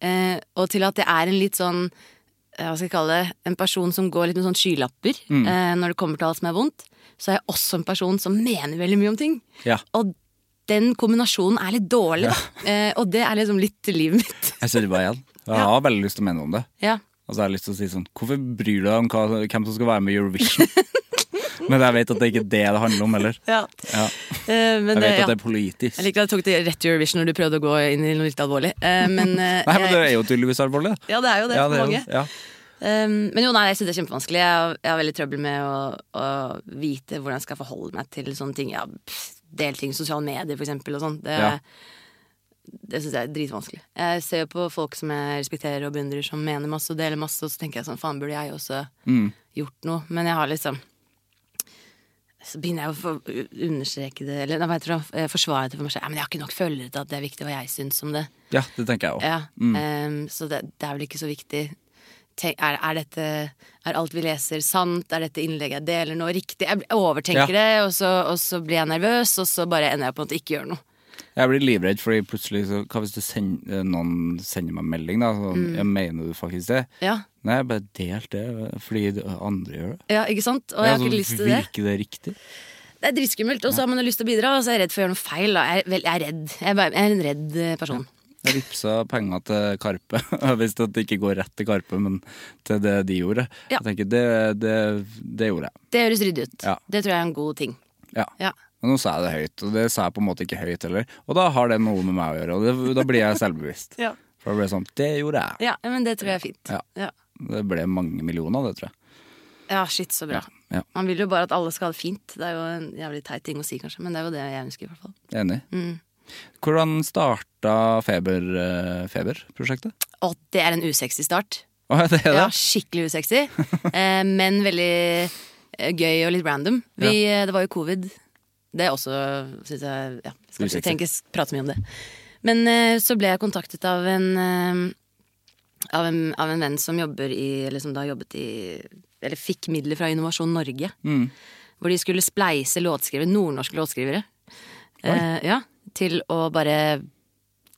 Eh, og til at jeg er en litt sånn eh, Hva skal jeg kalle det? En person som går litt med sånn skylapper
Mm.
eh, når det kommer til alt som er vondt. Så er jeg også en person som mener veldig mye om ting.
Ja.
Og den kombinasjonen er litt dårlig, da. Eh, og det er liksom litt livet mitt.
Jeg ser det bare igjen. Jeg har veldig lyst til å mene om det.
ja.
Altså, jeg har lyst til å si sånn Hvorfor bryr du deg om hva, hvem som skal være med i Eurovision? Men jeg vet at det er ikke det det handler om heller.
ja.
Ja.
Eh,
Jeg
men, eh,
vet
ja.
at det er politisk.
Jeg liker at du tok det rett til Eurovision når du prøvde å gå inn i noe litt alvorlig. Eh, men, eh,
Nei, men det er
jeg,
jo tydeligvis alvorlig. da.
ja, det er jo det
Ja,
for
det er
mange.
jo- ja.
Um, men jo, nei, jeg synes det er kjempevanskelig. Jeg har, jeg har veldig trøbbel med å, å vite hvordan jeg skal forholde meg til sånne ting. Ja, pff, del ting i sosiale medier, for eksempel, og sånn. Det,
Ja.
det syns jeg er dritvanskelig. Jeg ser jo på folk som jeg respekterer og beundrer, som mener masse og deler masse, og så tenker jeg sånn, faen, burde jeg også gjort noe? Men jeg har liksom så begynner jeg å for- understreke det, eller nei, hva heter det, eh, forsvare det for meg selv. Ja, men jeg har ikke nok følgere til at det er viktig hva jeg syns om det.
ja, det tenker jeg òg.
Ja, ehm, så det, det er vel ikke så viktig. Tenk, er, er, dette, er alt vi leser sant? Er dette innlegget jeg deler nå, riktig? Jeg overtenker det, og så, og så blir jeg nervøs, og så bare ender jeg på at jeg ikke gjør noe.
Jeg blir livredd, fordi plutselig så, Hva hvis det send, eh, noen sender meg melding, da?
Mm.
Sånn, jeg mener du faktisk det?
Ja,
Nei, jeg bare delte det fordi det- andre gjør det.
ja ikke sant? Og jeg har
Ja, sånn så
ikke lyst til det.
Virker det riktig?
Det er dritskummelt, og så har man jo lyst til å bidra, og så er jeg redd for å gjøre noe feil. Da. Jeg, er vel, jeg er redd. Jeg er, bare, jeg er en redd eh, person.
Jeg vippsa penger til Karpe. Jeg visste at det ikke går rett til Karpe, men til det de gjorde.
Ja.
Jeg tenker, det, det, det gjorde jeg.
Det høres ryddig ut.
Ja.
Det tror jeg er en god ting.
Ja.
Ja.
Men nå sa jeg det høyt, og det sa jeg på en måte ikke høyt heller. Og da har det noe med meg å gjøre, og det, da blir jeg selvbevisst.
Ja.
For da blir det sånn Det gjorde jeg.
Ja, men det tror jeg er fint.
Ja.
Ja,
Det ble mange millioner av det, tror jeg.
ja shit, så bra.
Ja.
Man vil jo bare at alle skal ha det fint. Det er jo en jævlig teit ting å si, kanskje, men det er jo det jeg ønsker, i hvert fall.
Enig.
Mm.
Hvordan starta Feber, eh, Feber-prosjektet?
Og det er en usexy start.
Å, det er det?
Ja, skikkelig usexy, eh, men veldig eh, gøy og litt random. Vi, eh, Det var jo covid. Det er også, syns jeg ja, Skal
Usexy.
ikke tenkes, prate mye om det. Men eh, så ble jeg kontaktet av en, eh, av en Av en venn som jobber i Eller som da jobbet i Eller fikk midler fra Innovasjon Norge.
Mm.
Hvor de skulle spleise låtskrivere, nordnorske låtskrivere. Eh, ja, til å bare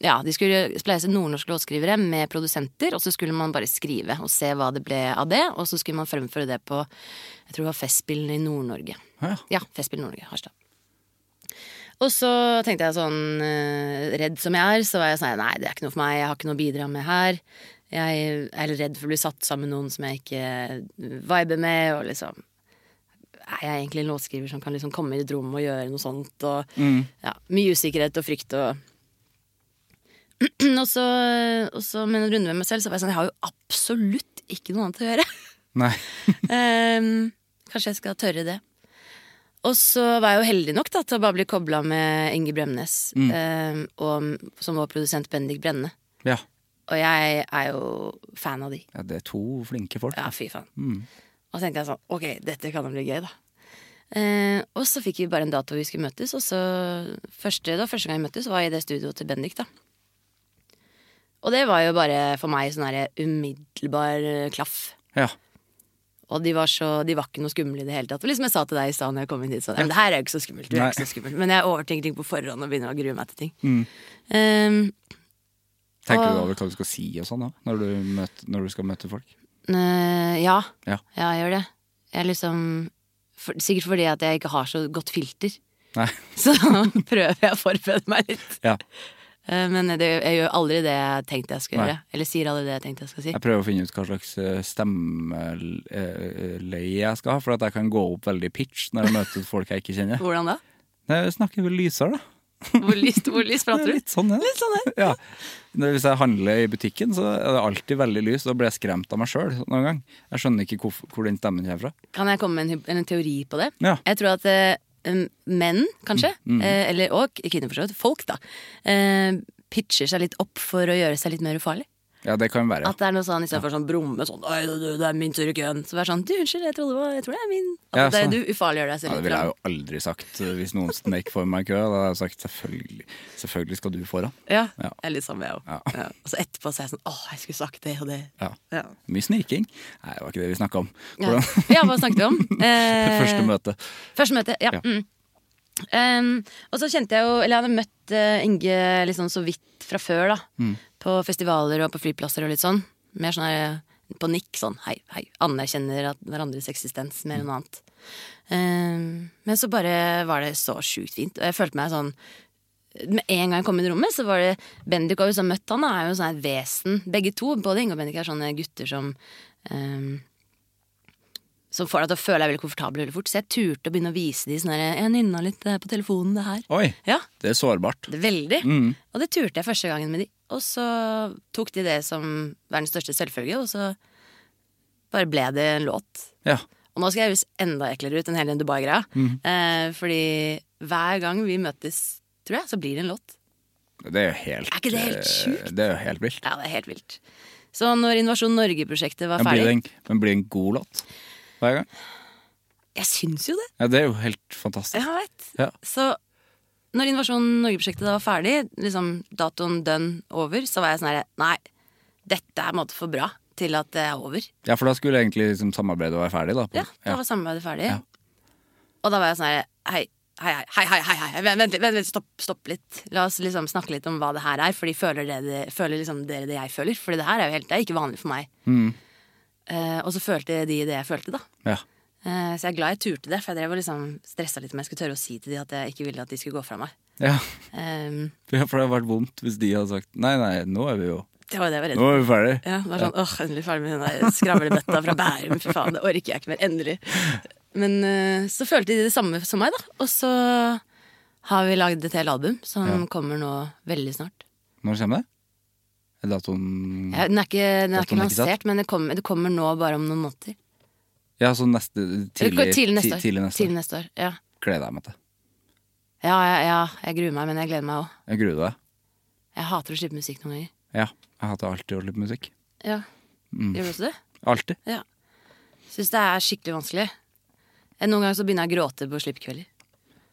ja, De skulle spleise nordnorske låtskrivere med produsenter, og så skulle man bare skrive og se hva det ble av det. Og så skulle man fremføre det på jeg tror det var Festspillene i Nord-Norge.
Ja.
Ja, Festspill Nord-Norge, Harstad. Og så tenkte jeg sånn, eh, redd som jeg er, så var jeg sånn Nei, det er ikke noe for meg, jeg har ikke noe å bidra med her. Jeg er redd for å bli satt sammen med noen som jeg ikke viber med, og liksom Er jeg egentlig en låtskriver som kan liksom komme i et rom og gjøre noe sånt? Og ja, mye usikkerhet og frykt og og så, og så med en runde med meg selv, så var jeg sånn Jeg har jo absolutt ikke noe annet å gjøre.
Nei.
Ehm, kanskje jeg skal tørre det. Og så var jeg jo heldig nok da, til å bare bli kobla med Inge Bremnes, ehm, og, som var produsent Bendik Brenne.
Ja.
Og jeg er jo fan av de.
ja. Det er to flinke folk.
Ja, fy faen. Og så tenkte jeg sånn, ok, dette kan jo bli gøy, da. Eh, og så fikk vi bare en dato vi skulle møtes, og så første, da, første gang vi møttes, var i det studioet til Bendik, da. Og det var jo bare for meg sånn her umiddelbar eh, klaff.
Ja.
Og de var, så, de var ikke noe skumle i det hele tatt. Og liksom jeg sa til deg i stad når jeg kom inn hit, sånn, «Nei, men det her er jo ikke så skummelt. Du er
Nei.
ikke så skummelt. Men jeg overtenker ting på forhånd og begynner å grue meg til ting. Ehm,
Tenker
Og-
du over hva du skal si og sånn da, når du, møter, når du skal møte folk?
eh, ja.
Ja.
ja, jeg gjør det. Jeg liksom for, Sikkert fordi at jeg ikke har så godt filter.
Nei.
Så prøver jeg å forberede meg litt.
Ja.
Eh, Men det, jeg gjør aldri det jeg tenkte jeg skulle
Nei.
gjøre. Eller sier aldri det jeg tenkte jeg skulle si.
Jeg prøver å finne ut hva slags eh, stemmeleie jeg skal ha, for at jeg kan gå opp veldig i pitch når jeg møter folk jeg ikke kjenner.
Hvordan da?
Nei, Jeg snakker vel lysere, da.
Hvor lyst, hvor lyst
Det er
prater du?
Litt sånn, ja. ja. Når, hvis jeg handler i butikken, så er det alltid veldig lys. Da blir jeg skremt av meg sjøl noen gang. Jeg skjønner ikke hvor, hvor den stemmen kommer fra.
Kan jeg komme med en, hy- en teori på det?
Ja. Mm,
Jeg tror at eh, um, menn, kanskje, eh, eller, og kvinner for så vidt, folk da, eh, pitcher seg litt opp for å gjøre seg litt mer ufarlig.
Ja, det kan være.
At det er noe sånn, istedenfor sånn brumme sånn Oi, du, du, det er min tur i køen. Så vær sånn Du, unnskyld, jeg, trodde det var, jeg tror det er min. At
Ja,
det,
sånn.
du ufarliggjør deg
Ja,
selv
det
litt.
ville jeg
grann.
jo aldri sagt eh, hvis noen snek for meg i kø. Da hadde jeg sagt selvfølgelig, selvfølgelig skal du foran.
Ja,
Ja.
jeg er litt samme, jeg òg.
Ja.
Ja. Og så etterpå så er jeg sånn Å, jeg skulle sagt det og det.
Ja.
Ja.
Mye sniking. Nei, det var ikke det vi snakka om.
Ja.
Hvordan
ja, hva snakket vi om? Eh,
Første møte.
Første møte, ja.
Ja.
Mm. Ehm, og så kjente jeg jo Eller jeg hadde møtt eh, Inge liksom så vidt fra før, da. På festivaler og på flyplasser og litt sånn. Mer sånn her, eh, på nikk, sånn hei, hei. Anerkjenner at hverandres eksistens mer enn noe annet. Ehm, men så bare var det så sjukt fint. Og jeg følte meg sånn med en gang jeg kom inn i rommet, så var det Bendik har jo sånn møtt han, da, er jo sånn her vesen. Begge to, både Inge og Bendik, er sånne gutter som ehm, som får deg til å føle deg veldig komfortabel veldig fort. Så jeg turte å begynne å vise de sånn her, Jeg nynna litt eh, på telefonen, det her.
Oi,
Ja,
det er sårbart.
det er veldig.
Mm.
Og det turte jeg første gangen med de. Og så tok de det som verdens største selvfølge, og så bare ble det en låt.
Ja.
Og nå skal jeg høres enda eklere ut enn hele den Dubai-greia.
Mm.
Eh, fordi hver gang vi møtes, tror jeg, så blir det en låt.
Det er jo helt
Er ikke det helt sjukt?
eh, Det er jo helt vilt.
Ja, det er helt vilt. Så når Innovasjon Norge-prosjektet var
Men blir det
ferdig
en, men blir det en god låt hver gang?
Jeg syns jo det.
Ja, det er jo helt fantastisk.
Jeg vet.
Ja.
Så når Innovasjon Norge-prosjektet da var ferdig, liksom datoen dønn over, så var jeg sånn her Nei, dette er på en måte for bra til at det er over.
Ja, for da skulle egentlig liksom samarbeidet være ferdig, da. på-
Ja, da var samarbeidet ferdig.
Ja.
Og da var jeg sånn her Hei, hei, hei, hei, hei, hei. Vent, vent, vent, vent stopp, stopp litt. La oss liksom snakke litt om hva det her er, Fordi føler dere det, føler liksom dere det jeg føler? Fordi det her er jo helt, det er ikke vanlig for meg.
Mm.
Eh, og så følte de det jeg følte, da.
ja.
Eh, Så jeg er glad jeg turte det, for jeg drev og liksom stressa litt om jeg skulle tørre å si til de at jeg ikke ville at de skulle gå fra meg.
Ja.
Ehm,
ja, for det hadde vært vondt hvis de hadde sagt nei, nei, nå er vi jo
det var jo det jeg var redd
Nå
for.
er vi ferdig.
Ja, det var sånn, åh, Endelig ferdig med den der skravlebøtta fra Bærum, fy faen, det orker jeg ikke mer. Endelig. Men eh, så følte de det samme som meg, da. Og så har vi lagd et helt album som kommer nå veldig snart.
Når kommer det? Er datoen
Ja, den er ikke, den
Datoen er
er ikke
ikke satt.
lansert, men det kommer, det kommer nå bare om noen måneder.
Ja, så neste
Eller,
Tidlig,
tidlig neste år.
ti- Tidlig neste år.
neste år, ja.
Gleder jeg meg til.
Ja, ja, ja, jeg gruer meg, men jeg gleder meg òg.
Jeg gruer meg.
Jeg hater å slippe musikk noen ganger.
Ja. Jeg hater alltid å slippe musikk.
Ja.
Mm.
Gjør du også det?
Alltid.
Ja. Syns det er skikkelig vanskelig. Eh, Noen ganger så begynner jeg å gråte på slippkvelder.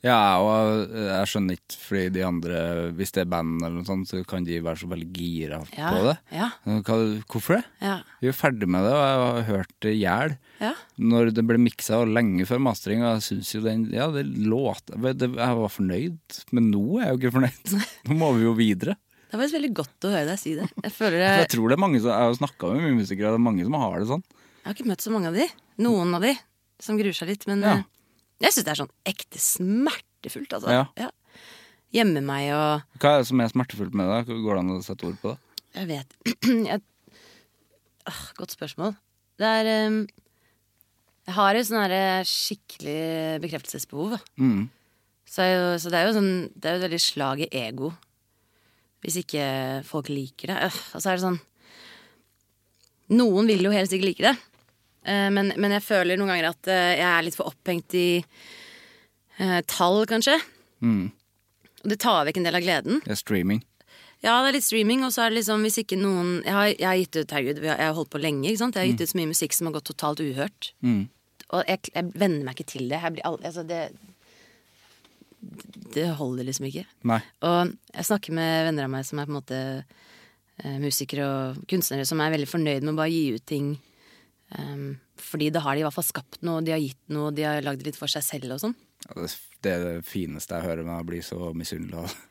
Ja, og eh, jeg skjønner ikke, fordi de andre, hvis det er band eller noe sånt, så kan de være så veldig gira
Ja,
på det.
ja.
Hva, hvorfor det?
Ja.
Vi er ferdig med det, og jeg har hørt det i hjel.
Ja.
Når det ble miksa og lenge før mastring, og jeg syns jo den Ja, det låt det, Jeg var fornøyd, men nå er jeg jo ikke fornøyd. Nå må vi jo videre.
Det var veldig godt å høre deg si det. Jeg føler
For
det,
jeg tror det er mange som Jeg har jo snakka med mye musikere, og det er mange som har det sånn.
jeg har ikke møtt så mange av de. Noen av de som gruer seg litt. Men
Ja.
eh, jeg syns det er sånn ekte smertefullt, altså.
Ja.
Gjemme meg og
Hva er det som er smertefullt med det? Går det an å sette ord på det?
Jeg vet jeg, ah, Godt spørsmål. Det er eh, Jeg har jo sånn herre skikkelig bekreftelsesbehov. da.
Mm.
Så, er jo, så det er jo sånn Det er jo et veldig slag i ego. Hvis ikke folk liker det. Øh, og så er det sånn Noen vil jo helt sikkert like det. Eh, men, men jeg føler noen ganger at eh, jeg er litt for opphengt i eh, tall, kanskje. Og det tar vekk en del av gleden.
Det er streaming.
Ja, det er litt streaming, og så er det liksom hvis ikke noen Jeg har, jeg har gitt ut herregud, vi har- jeg har holdt på lenge. ikke sant? Jeg har gitt ut så mye musikk som har gått totalt uhørt. Og jeg, jeg venner meg ikke til det. Jeg blir aldri, altså det, det holder liksom ikke.
Nei.
Og jeg snakker med venner av meg som er på en måte eh, musikere og kunstnere som er veldig fornøyd med å bare gi ut ting. ehm, fordi da har de i hvert fall skapt noe, de har gitt noe, de har lagd litt for seg selv og sånn.
Ja, det, det er det fineste jeg hører, men jeg blir så misunnelig av det.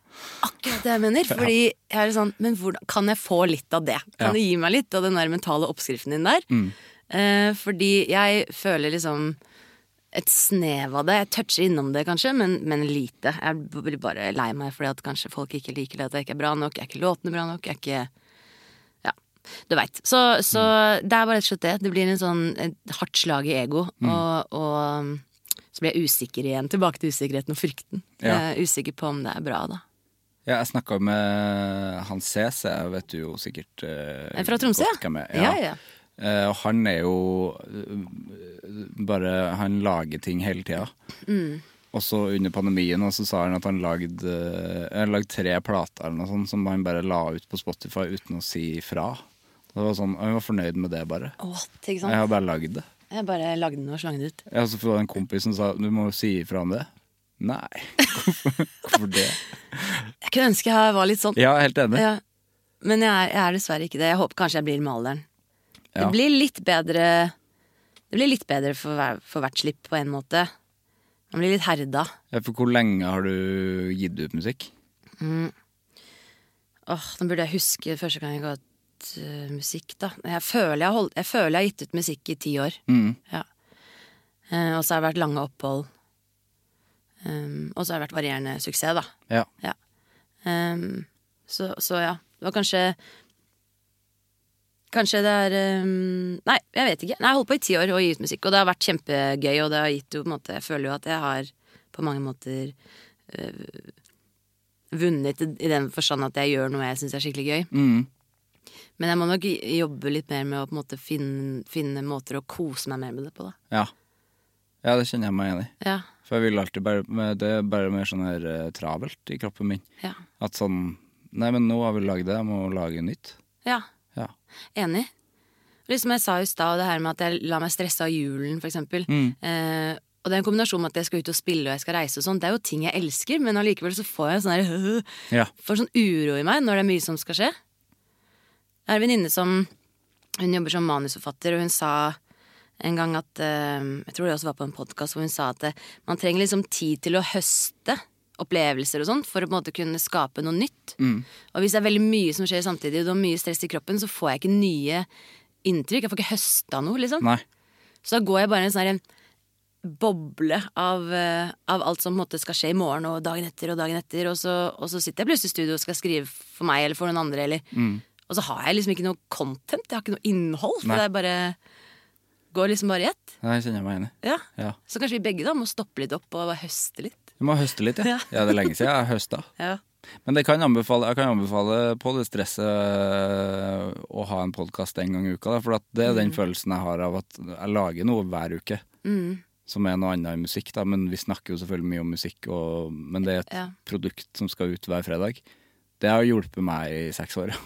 Akkurat det jeg mener. Fordi jeg er sånn, men hvordan, Kan jeg få litt av det? Kan
Ja. Mm.
du gi meg litt av den der mentale oppskriften din der? Eh, fordi jeg føler liksom et snev av det. Jeg toucher innom det kanskje, men, men lite. Jeg blir bare lei meg fordi at kanskje folk ikke liker det, at jeg ikke er bra nok, jeg er ikke låtene bra nok, jeg er ikke Ja, du veit. Så, så
Mm.
det er bare rett og slett det. Det blir en sånn et hardt slag i ego.
Mm.
Og, og så blir jeg usikker igjen. Tilbake til usikkerheten og frykten.
Ja.
Jeg er usikker på om det er bra, da.
Ja, jeg snakka med han CC, jeg vet du jo sikkert eh,
Eh, Fra Tromsø,
godt hvem jeg- ja.
ja, ja.
Eh, og han er jo eh, bare Han lager ting hele tida.
Mm.
Og så under pandemien og så sa han at han lagde, eh, han lagde tre plater eller noe sånt, som han bare la ut på Spotify uten å si fra. Det var sånn, Han var fornøyd med det, bare.
What, ikke sant?
Jeg har bare lagd det.
Jeg bare lagde den og slang den ut.
Ja, så var det en kompis som sa du må jo si ifra om det. Nei, hvorfor, hvorfor det?
Jeg kunne ønske jeg var litt sånn.
Ja, jeg er helt enig.
Ja. Men jeg er, jeg er dessverre ikke det. Jeg håper kanskje jeg blir maleren.
Ja.
Det blir litt bedre Det blir litt bedre for, hver, for hvert slipp, på en måte. Man blir litt herda.
Ja, For hvor lenge har du gitt ut musikk?
Åh, Nå burde jeg huske første gang jeg ga ut øh, musikk, da. Jeg føler jeg, har holdt, jeg føler jeg har gitt ut musikk i ti år. Ja. Eh, og så har det vært lange opphold. Um, og så har det vært varierende suksess, da.
Ja.
Ja. Ehm, så, så ja, det var kanskje Kanskje det er ehm, Nei, jeg vet ikke. Nei, jeg har holdt på i ti år og gitt ut musikk, og det har vært kjempegøy. Og det har gitt jo på en måte Jeg føler jo at jeg har på mange måter eh, vunnet i i den forstand at jeg gjør noe jeg syns er skikkelig gøy. Men jeg må nok i- jobbe litt mer med å på en måte finne, finne måter å kose meg mer med det på, da.
Ja, ja det kjenner jeg meg enig i.
Ja,
For jeg vil alltid bare men Det er bare mer sånn her eh, travelt i kroppen min.
ja,
At sånn Nei, men nå har vi lagd det, jeg må lage nytt.
ja.
Ja.
Enig. Og Liksom jeg sa i stad, det her med at jeg lar meg stresse av julen, for eksempel. Eh, og det er en kombinasjon med at jeg skal ut og spille og jeg skal reise og sånn. Det er jo ting jeg elsker, men allikevel så får jeg en sånn her øh,
Ja.
Får sånn uro i meg når det er mye som skal skje. Jeg har en venninne som Hun jobber som manusforfatter, og hun sa en gang at eh, Jeg tror det også var på en podkast hvor hun sa at eh, man trenger liksom tid til å høste opplevelser og sånn for å på en måte kunne skape noe nytt. Og hvis det er veldig mye som skjer samtidig, og du har mye stress i kroppen, så får jeg ikke nye inntrykk. Jeg får ikke høsta noe, liksom.
Nei.
Så da går jeg bare i en sånn her boble av, eh, av alt som på en måte skal skje i morgen og dagen etter og dagen etter. Og så, og så sitter jeg plutselig i studio og skal skrive for meg eller for noen andre. Eller. Og så har jeg liksom ikke noe content, jeg har ikke noe innhold. For
Mm. Nei.
det er bare går liksom bare i ett.
Nei, jeg kjenner meg enig.
Ja.
Ja.
Så kanskje vi begge da må stoppe litt opp og bare høste litt.
Du må høste litt, ja.
Ja.
ja det er lenge siden jeg har høsta.
Ja.
Men det kan jeg anbefale, jeg kan anbefale på det stresset øh, å ha en podkast en gang i uka. Da, for at det er
Mm.
den følelsen jeg har av at jeg lager noe hver uke.
Mm.
Som er noe annet enn musikk, da, men vi snakker jo selvfølgelig mye om musikk. Og, men det er et
Ja.
produkt som skal ut hver fredag. Det har hjulpet meg i seks år. ja.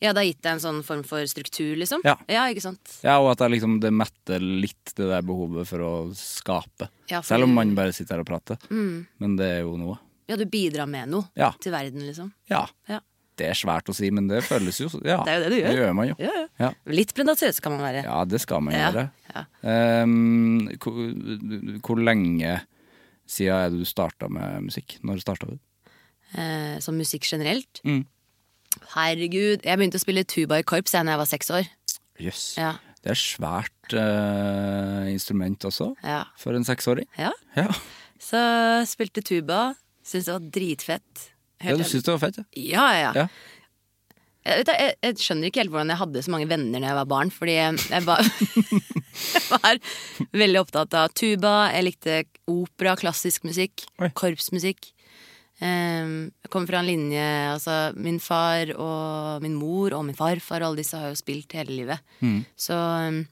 ja, det har gitt deg en sånn form for struktur, liksom.
Ja.
ikke sant.
Ja, Og at jeg liksom, det metter litt det der behovet for å skape.
Ja, Mm. for
Selv om
du-
man bare sitter her og prater. Men det er jo noe.
Ja, du bidrar med noe
Ja.
til verden, liksom.
Ja.
Ja.
Det er svært å si, men det føles jo ja,
Det er jo det du gjør.
Det gjør man jo.
Ja, ja.
Ja.
Litt predatøs kan man være.
Ja, det skal man
Ja,
gjøre.
ja.
Ehm, hvor, hvor lenge siden er det du starta med musikk? Når starta du?
eh, som musikk generelt.
Mm.
Herregud, jeg begynte å spille tuba i korps jeg da jeg var seks år.
Jøss.
Ja.
Det er svært eh, instrument også,
Ja.
for en seksåring.
ja.
Ja.
Så spilte tuba, syntes det var dritfett.
ja,
Helt
du
ærlig.
syns det var fett, ja?
ja, ja, ja.
Ja.
Jeg, vet, du, jeg, jeg skjønner ikke helt hvordan jeg hadde så mange venner da jeg var barn, fordi jeg, jeg, var, jeg var veldig opptatt av tuba, jeg likte opera, klassisk musikk,
Oi.
korpsmusikk. Ehm, jeg kommer fra en linje Altså, min far og min mor og min farfar og alle disse har jo spilt hele livet. Så, ehm,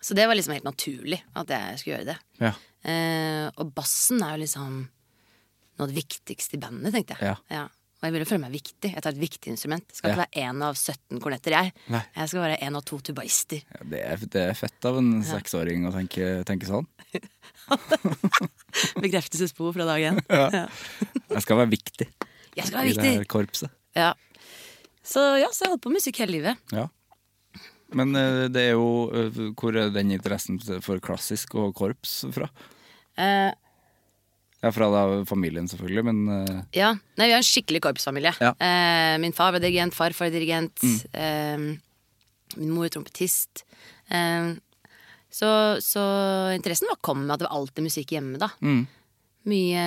så det var liksom helt naturlig at jeg skulle gjøre det.
Ja.
Eh, og bassen er jo liksom noe av det viktigste i bandet, tenkte jeg.
Ja.
Og jeg ville føle meg viktig. Jeg tar et viktig instrument. Jeg skal ikke
Ja.
være én av 17 kornetter, jeg.
Nei.
Jeg skal være én av to tubaister.
Ja, Det er, det er fett av en seksåring å tenke, tenke sånn.
Bekreftelsesbehov fra dag én.
Jeg skal være viktig
Jeg skal være
i det her
viktig!
korpset.
Ja. Så ja, så jeg holdt på med musikk hele livet.
Ja. Men eh, det er jo eh, Hvor er den interessen for klassisk og korps fra?
Eh,
Ja, fra da familien, selvfølgelig, men eh,
ja. Nei, vi er en skikkelig korpsfamilie.
Ja. Mm.
Eh, min far var dirigent, farfar var dirigent. Eh, min mor er trompetist. Eh, så, så interessen var kom med at det var alltid musikk hjemme, da.
Mm.
Mye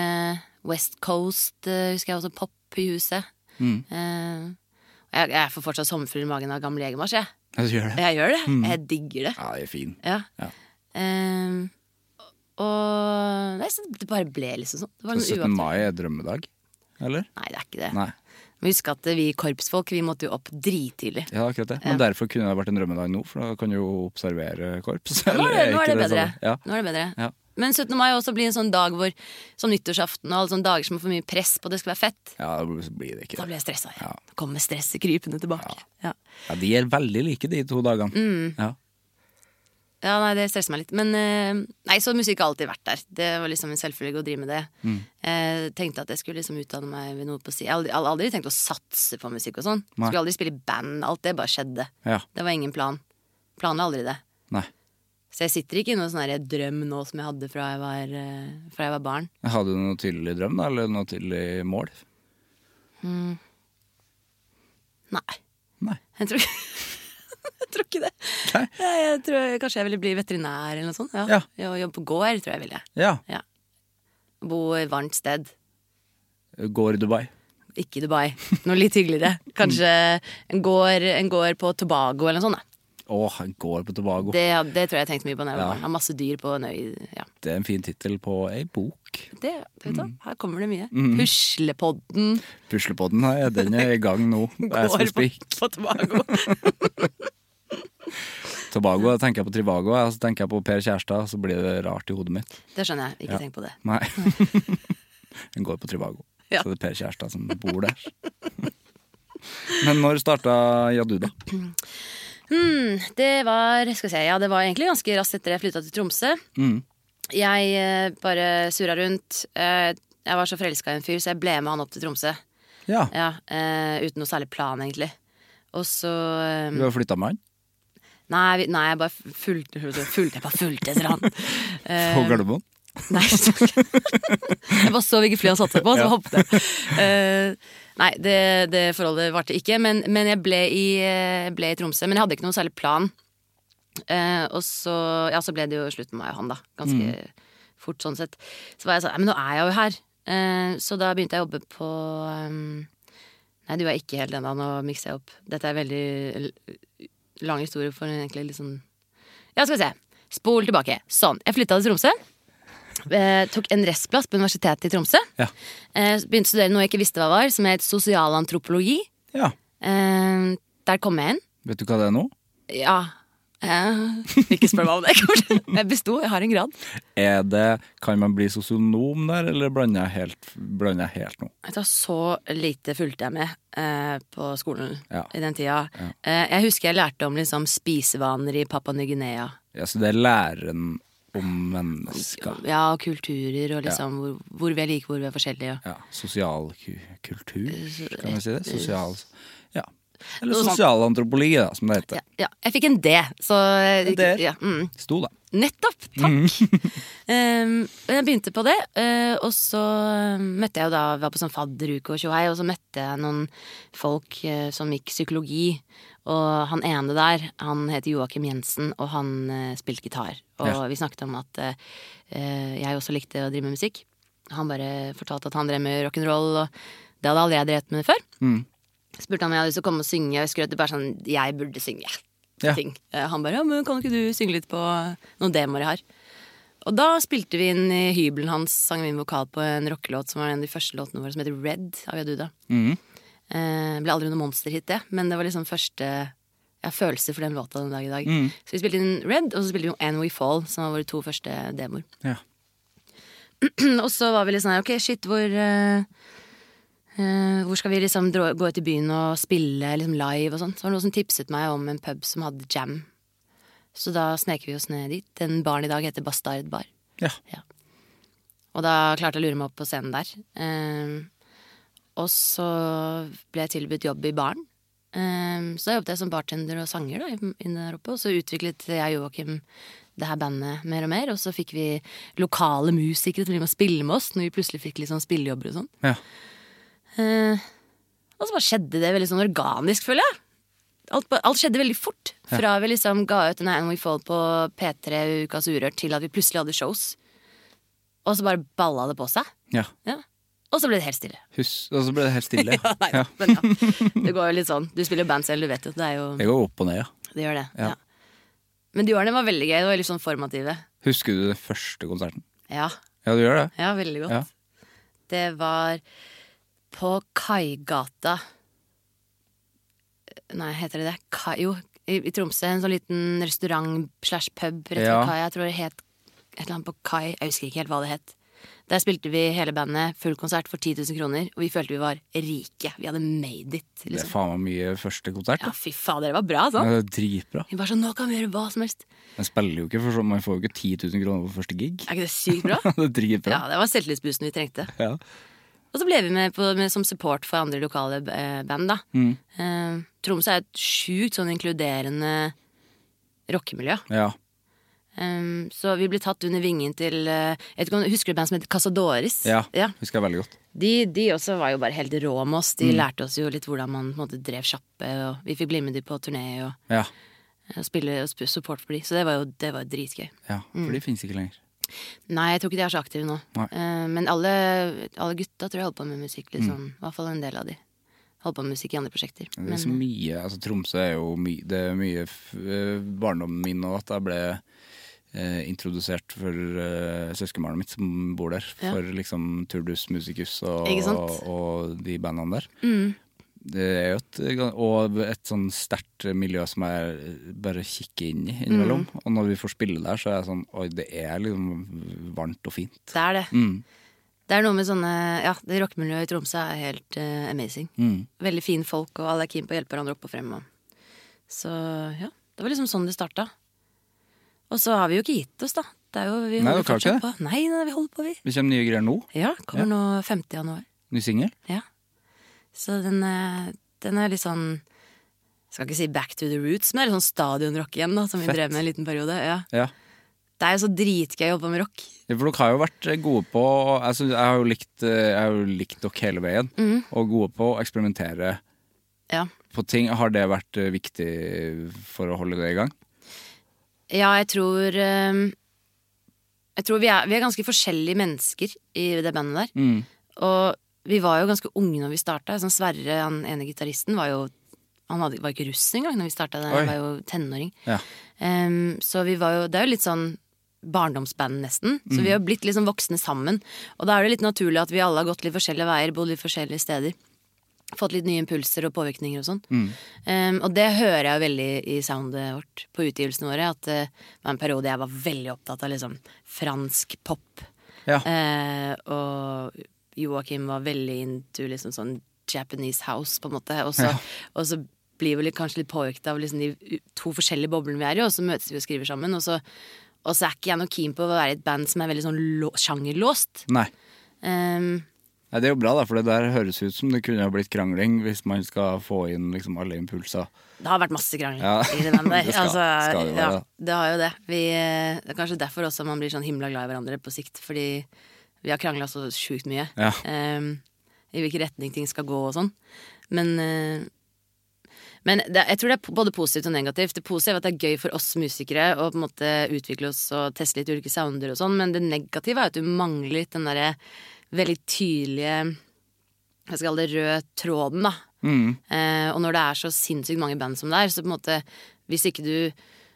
West Coast, eh, husker jeg også. Pop i huset.
Mm.
Eh, og jeg, jeg får fortsatt sommerfugl i magen av gammel legemarsj, jeg.
Ja, du gjør det.
Jeg gjør det. Jeg digger det.
Ja, det er fin.
Ja.
Mm. Ja.
Ehm, og nei, så det bare ble liksom sånn. Det
Så
var noe
17.
uaktuelt.
mai er drømmedag, eller?
Nei, det er ikke det.
Nei.
Men husk at vi korpsfolk, vi måtte jo opp drittidlig.
Ja, akkurat det. Men derfor kunne det vært en drømmedag nå, for da kan du jo observere korps.
Nå
eller
er det, nå
ikke
er det bedre.
samme? Ja.
Nå er det bedre.
Ja.
Men 17. mai også blir en sånn dag hvor Som nyttårsaften og alle sånne dager som får mye press på at det skal være fett.
ja, da blir det ikke
Da
det.
blir jeg stressa.
Ja.
igjen. Kommer stresset krypende tilbake. Ja.
Ja, de er veldig like, de to dagene.
Mm.
Ja.
Ja, nei, det stresser meg litt. Men eh, nei, så musikk har alltid vært der. Det var liksom en selvfølge å drive med det.
Mm.
Jeg tenkte at jeg skulle liksom utdanne meg ved noe på si. Jeg har aldri, aldri- aldri tenkt å satse på musikk og sånn.
Nei.
Skulle aldri spille i band. Alt det bare skjedde.
ja.
Det var ingen plan. Planla aldri det.
Nei.
Så jeg sitter ikke i noen sånn her drøm nå som jeg hadde fra jeg var, eh, fra jeg var barn.
Hadde du noe tydelig drøm, da? Eller noe tydelig mål?
Nei.
Nei.
Jeg tror, jeg tror ikke det.
Nei.
Jeg, jeg tror jeg, Kanskje jeg ville bli veterinær eller noe sånt. Ja.
Ja.
Og Jobbe på gård, tror jeg ville.
Ja.
Ja. Bo i et varmt sted.
Går i Dubai.
Ikke i Dubai. Noe litt hyggeligere. Kanskje en gård, en gård på Tobago eller noe sånt. Da.
Å, han går på Tobago. Det,
Det, det tror jeg jeg tenkte mye på da jeg var barn. Har masse dyr på en øy. Ja.
er en fin tittel på ei bok.
Det, vet du, hva, Her kommer det mye. Puslepodden
Puslepodden her, den er i gang nå. Det er som
går på,
spik.
på Tobago.
Tobago, da tenker jeg på Trivago, og så tenker jeg på Per Kjærstad, så blir det rart i hodet mitt.
Det skjønner jeg. Ikke tenk på det.
Nei. Den går på Trivago.
Ja.
Så det er Per Kjærstad som bor der. Men når starta Jadu, da?
Mm, det var skal vi se, ja, det var egentlig ganske raskt etter jeg flytta til Tromsø. Jeg eh, bare surra rundt. Eh, jeg var så forelska i en fyr, så jeg ble med han opp til Tromsø.
Ja,
Ja, eh, uten noe særlig plan, egentlig. Og så eh,
Du har flytta med han?
nei, vi- nei, jeg bare fulgte, fulgte, jeg bare fulgte etter han. Eh.
På Gardermoen?
Nei, stakk. Jeg bare så hvilke fly han satte seg på, så hoppet jeg. Eh, nei, det, det forholdet varte ikke. Men, men jeg ble i, eh, ble i Tromsø. Men jeg hadde ikke noen særlig plan. Eh, og så, ja, så ble det jo slutt med meg og han, da. Ganske fort, sånn sett. Så var jeg sånn, «Nei, men nå er jeg jo her. Eh, så da begynte jeg å jobbe på ehm, Nei, du er ikke helt ennå, nå mikser jeg opp. Dette er veldig l- lang historie for egentlig litt sånn Ja, skal vi se. Spol tilbake. Sånn. Jeg flytta til Tromsø. Eh, tok en restplass på Universitetet i Tromsø.
Ja.
Eh, begynte å studere noe jeg ikke visste hva var, som het sosialantropologi.
ja.
Eh, der kom jeg inn.
Vet du hva det er nå?
Ja. Eh, ikke spør meg om det, kanskje. Jeg besto, jeg har en grad.
Er det, Kan man bli sosionom der, eller blander jeg helt, blander jeg helt nå?
Vet du hva, så lite fulgte jeg med eh, på skolen
Ja.
i den tida. Eh, jeg husker jeg lærte om liksom, spisevaner i Papua Ny-Guinea.
Ja, så det er læren om mennesker.
Ja, og kulturer, og liksom hvor, hvor vi er like, hvor vi er forskjellige.
Ja, Sosial ku kultur, kan vi si det? Sosial Ja. Eller
Noe sånt.
sosialantropologi, da, som det heter.
Ja, ja, jeg fikk en D, så
En D-er.
Ja, mm.
Sto, da.
Nettopp! Takk! um, og jeg begynte på det, eh, og så eh, møtte jeg jo da var på sånn fadderuke og tjohei, og så møtte jeg noen folk eh, som gikk psykologi. Og han ene der, han heter Joakim Jensen, og han eh, spilte gitar. Og
Ja.
vi snakket om at eh, eh, jeg også likte å drive med musikk. Han bare fortalte at han drev med rock'n'roll, og det hadde aldri jeg drevet med før. Spurte han om jeg hadde lyst til å komme og synge, og jeg skrøt bare sånn Jeg burde synge.
Ja.
Ting. Eh, Han bare ja, men kan ikke du synge litt på noen demoer jeg har? Og da spilte vi inn i hybelen hans, sang vi inn vokal på en rockelåt som var en av de første låtene våre, som heter Red av Yaduda. Eh, ble aldri noe monsterhit, det, men det var liksom første ja, følelse for den låta den dag i dag. Så vi spilte inn Red, og så spilte vi jo And We Fall, som var våre to første demoer.
Ja.
Og så var vi litt sånn her, ok, shit, hvor eh, eh, Hvor skal vi liksom dra, gå ut i byen og spille liksom live og sånn? Så var det noen som tipset meg om en pub som hadde jam. Så da snek vi oss ned dit. Den baren i dag heter Bastard Bar.
ja.
Og da klarte jeg å lure meg opp på scenen der. Ehm, og så ble jeg tilbudt jobb i baren. Ehm, så da jobbet jeg som bartender og sanger da, inne der oppe. Og så utviklet jeg og Joakim det her bandet mer og mer. Og så fikk vi lokale musikere til å bli med og spille med oss når vi plutselig fikk litt sånn spillejobber og sånn.
ja.
Eh, og så bare skjedde det veldig sånn organisk, føler jeg. Alt, ba- alt skjedde veldig fort. Fra vi liksom ga ut denne And We Fall på P3 Ukas Urørt, til at vi plutselig hadde shows. Og så bare balla det på seg.
ja.
Ja. Og så ble det helt stille.
Hus, og så ble det helt stille.
Ja, nei,
Ja.
Men ja, det går jo litt sånn. Du spiller jo band selv, du vet jo. Det er jo
Det går opp og ned, ja.
Det gjør det.
Ja.
Ja. Men de årene var veldig gøy. Det var litt sånn formative.
Husker du den første konserten?
Ja.
Ja, du gjør det?
Ja, veldig godt.
Ja.
Det var på Kaigata Nei, heter det det? Kai, jo, i, i Tromsø. En sånn liten restaurant slash pub rett ved
Ja.
kai. Jeg tror det het et eller annet på kai. Jeg husker ikke helt hva det het. Der spilte vi hele bandet, full konsert for 10 000 kroner, og vi følte vi var rike. Vi hadde made it.
Det er
Liksom.
faen meg mye første konsert.
Ja,
da.
fy faen, dere var bra, sånn.
Ja, det er dritbra.
Vi bare sånn, nå kan vi gjøre hva som helst.
Den spiller jo ikke, for så man får jo ikke 10 000 kroner på første gig.
Er ikke det sykt bra?
det er dritbra.
ja, det var selvtillitsboosten vi trengte.
Ja.
Og så ble vi med, på, med som support for andre lokale eh, band, da.
Mm.
Eh, Tromsø er et sjukt sånn inkluderende rockemiljø.
Ja.
Um, så vi ble tatt under vingen til eh, jeg vet ikke om, Husker du et band som heter Casadores?
Ja, husker jeg veldig godt.
De, de også var jo bare helt rå med oss.
Mm.
De lærte oss jo litt hvordan man på en måte, drev sjappe, og vi fikk bli med de på turné og,
Ja,
og spille og sp- support for de. Så det var jo det var jo dritgøy.
ja for
Mm.
de finnes ikke lenger.
Nei, jeg tror ikke de er så aktive nå.
Nei. Mm.
Eh, men alle, alle gutta tror jeg holdt på med musikk. Liksom. I hvert fall en del av de. Holdt på med musikk i andre prosjekter.
Det er så mye, altså Tromsø er jo my, det er mye f- eh, barndommen min og at jeg ble eh, introdusert for eh, søskenbarnet mitt som bor der,
Ja.
for liksom Turdus Musicus og,
Ikke sant? Mm.
og, de bandene der. Det er jo et, ga- og et sånn sterkt miljø som jeg bare kikker inn i innimellom.
Mm.
Og når vi får spille der, så er jeg sånn Oi, det er liksom varmt og fint.
Det er det.
Mm.
Det er noe med sånne Ja, det rockemiljøet i Tromsø er helt eh, amazing.
Mm.
Veldig fine folk, og alle er keen på å hjelpe hverandre opp og frem. Og. Så ja, det var liksom sånn det starta. Og så har vi jo ikke gitt oss, da. Det er jo, vi
Nei, dere
holder
har ikke
fortsatt på. Nei, nei, vi holder på, vi.
Det kommer nye greier nå.
Ja, kommer nå 5. januar.
Ny singel.
Ja. Så den, eh, den er litt sånn Skal ikke si back to the roots, men det er litt sånn stadionrock igjen, da, som vi
Fett.
drev med en liten periode. Ja.
Ja.
Det er jo så dritgøy å jobbe med rock.
Ja, For dere har jo vært eh, gode på altså, Jeg, synes, jeg, har, jo likt, eh, jeg har jo likt dere hele veien, og gode på å eksperimentere
Ja.
på ting. Har det vært eh, viktig for å holde det i gang?
Ja, jeg tror eh, Jeg tror vi er, vi er ganske forskjellige mennesker i det bandet der.
Mm.
Og vi var jo ganske unge når vi starta. Sånn Sverre, han ene gitaristen, var jo Han hadde, var ikke russ engang når vi starta.
Oi.
Han var jo tenåring.
Ja.
Em, så vi var jo Det er jo litt sånn barndomsband, nesten. Så
Mm.
vi har blitt liksom voksne sammen. Og da er det litt naturlig at vi alle har gått litt forskjellige veier, bodd litt forskjellige steder. Fått litt nye impulser og påvirkninger og sånn. Em, og det hører jeg jo veldig i soundet vårt på utgivelsene våre. At eh, det var en periode jeg var veldig opptatt av liksom fransk pop.
Ja.
Eh, og Joakim var veldig into liksom sånn Japanese house, på en måte. Og så, og så blir vi litt, kanskje litt påvirket av liksom de u- to forskjellige boblene vi er i, og så møtes vi og skriver sammen. Og så, og så er ikke jeg noe keen på å være i et band som er veldig sånn lå- sjangerlåst. Ehm,
Nei.
Em,
Nei, Det er jo bra, da, for det der høres ut som det kunne ha blitt krangling hvis man skal få inn liksom alle impulser.
det har vært masse krangling
Ja,
i det bandet.
det skal- skal det jo være, da.
ja, det har jo det. Vi, eh, det er kanskje derfor også man blir sånn himla glad i hverandre på sikt, fordi vi har krangla så sjukt mye.
Ja.
Em, I hvilken retning ting skal gå og sånn. Men, eh, men det, jeg tror det er både positivt og negativt. Det positive er at det er gøy for oss musikere å på en måte utvikle oss og teste litt ulike sounder og sånn, men det negative er at du mangler litt den derre veldig tydelige jeg skal kalle det rød tråden, da. Eh, og når det er så sinnssykt mange band som det er, så på en måte Hvis ikke du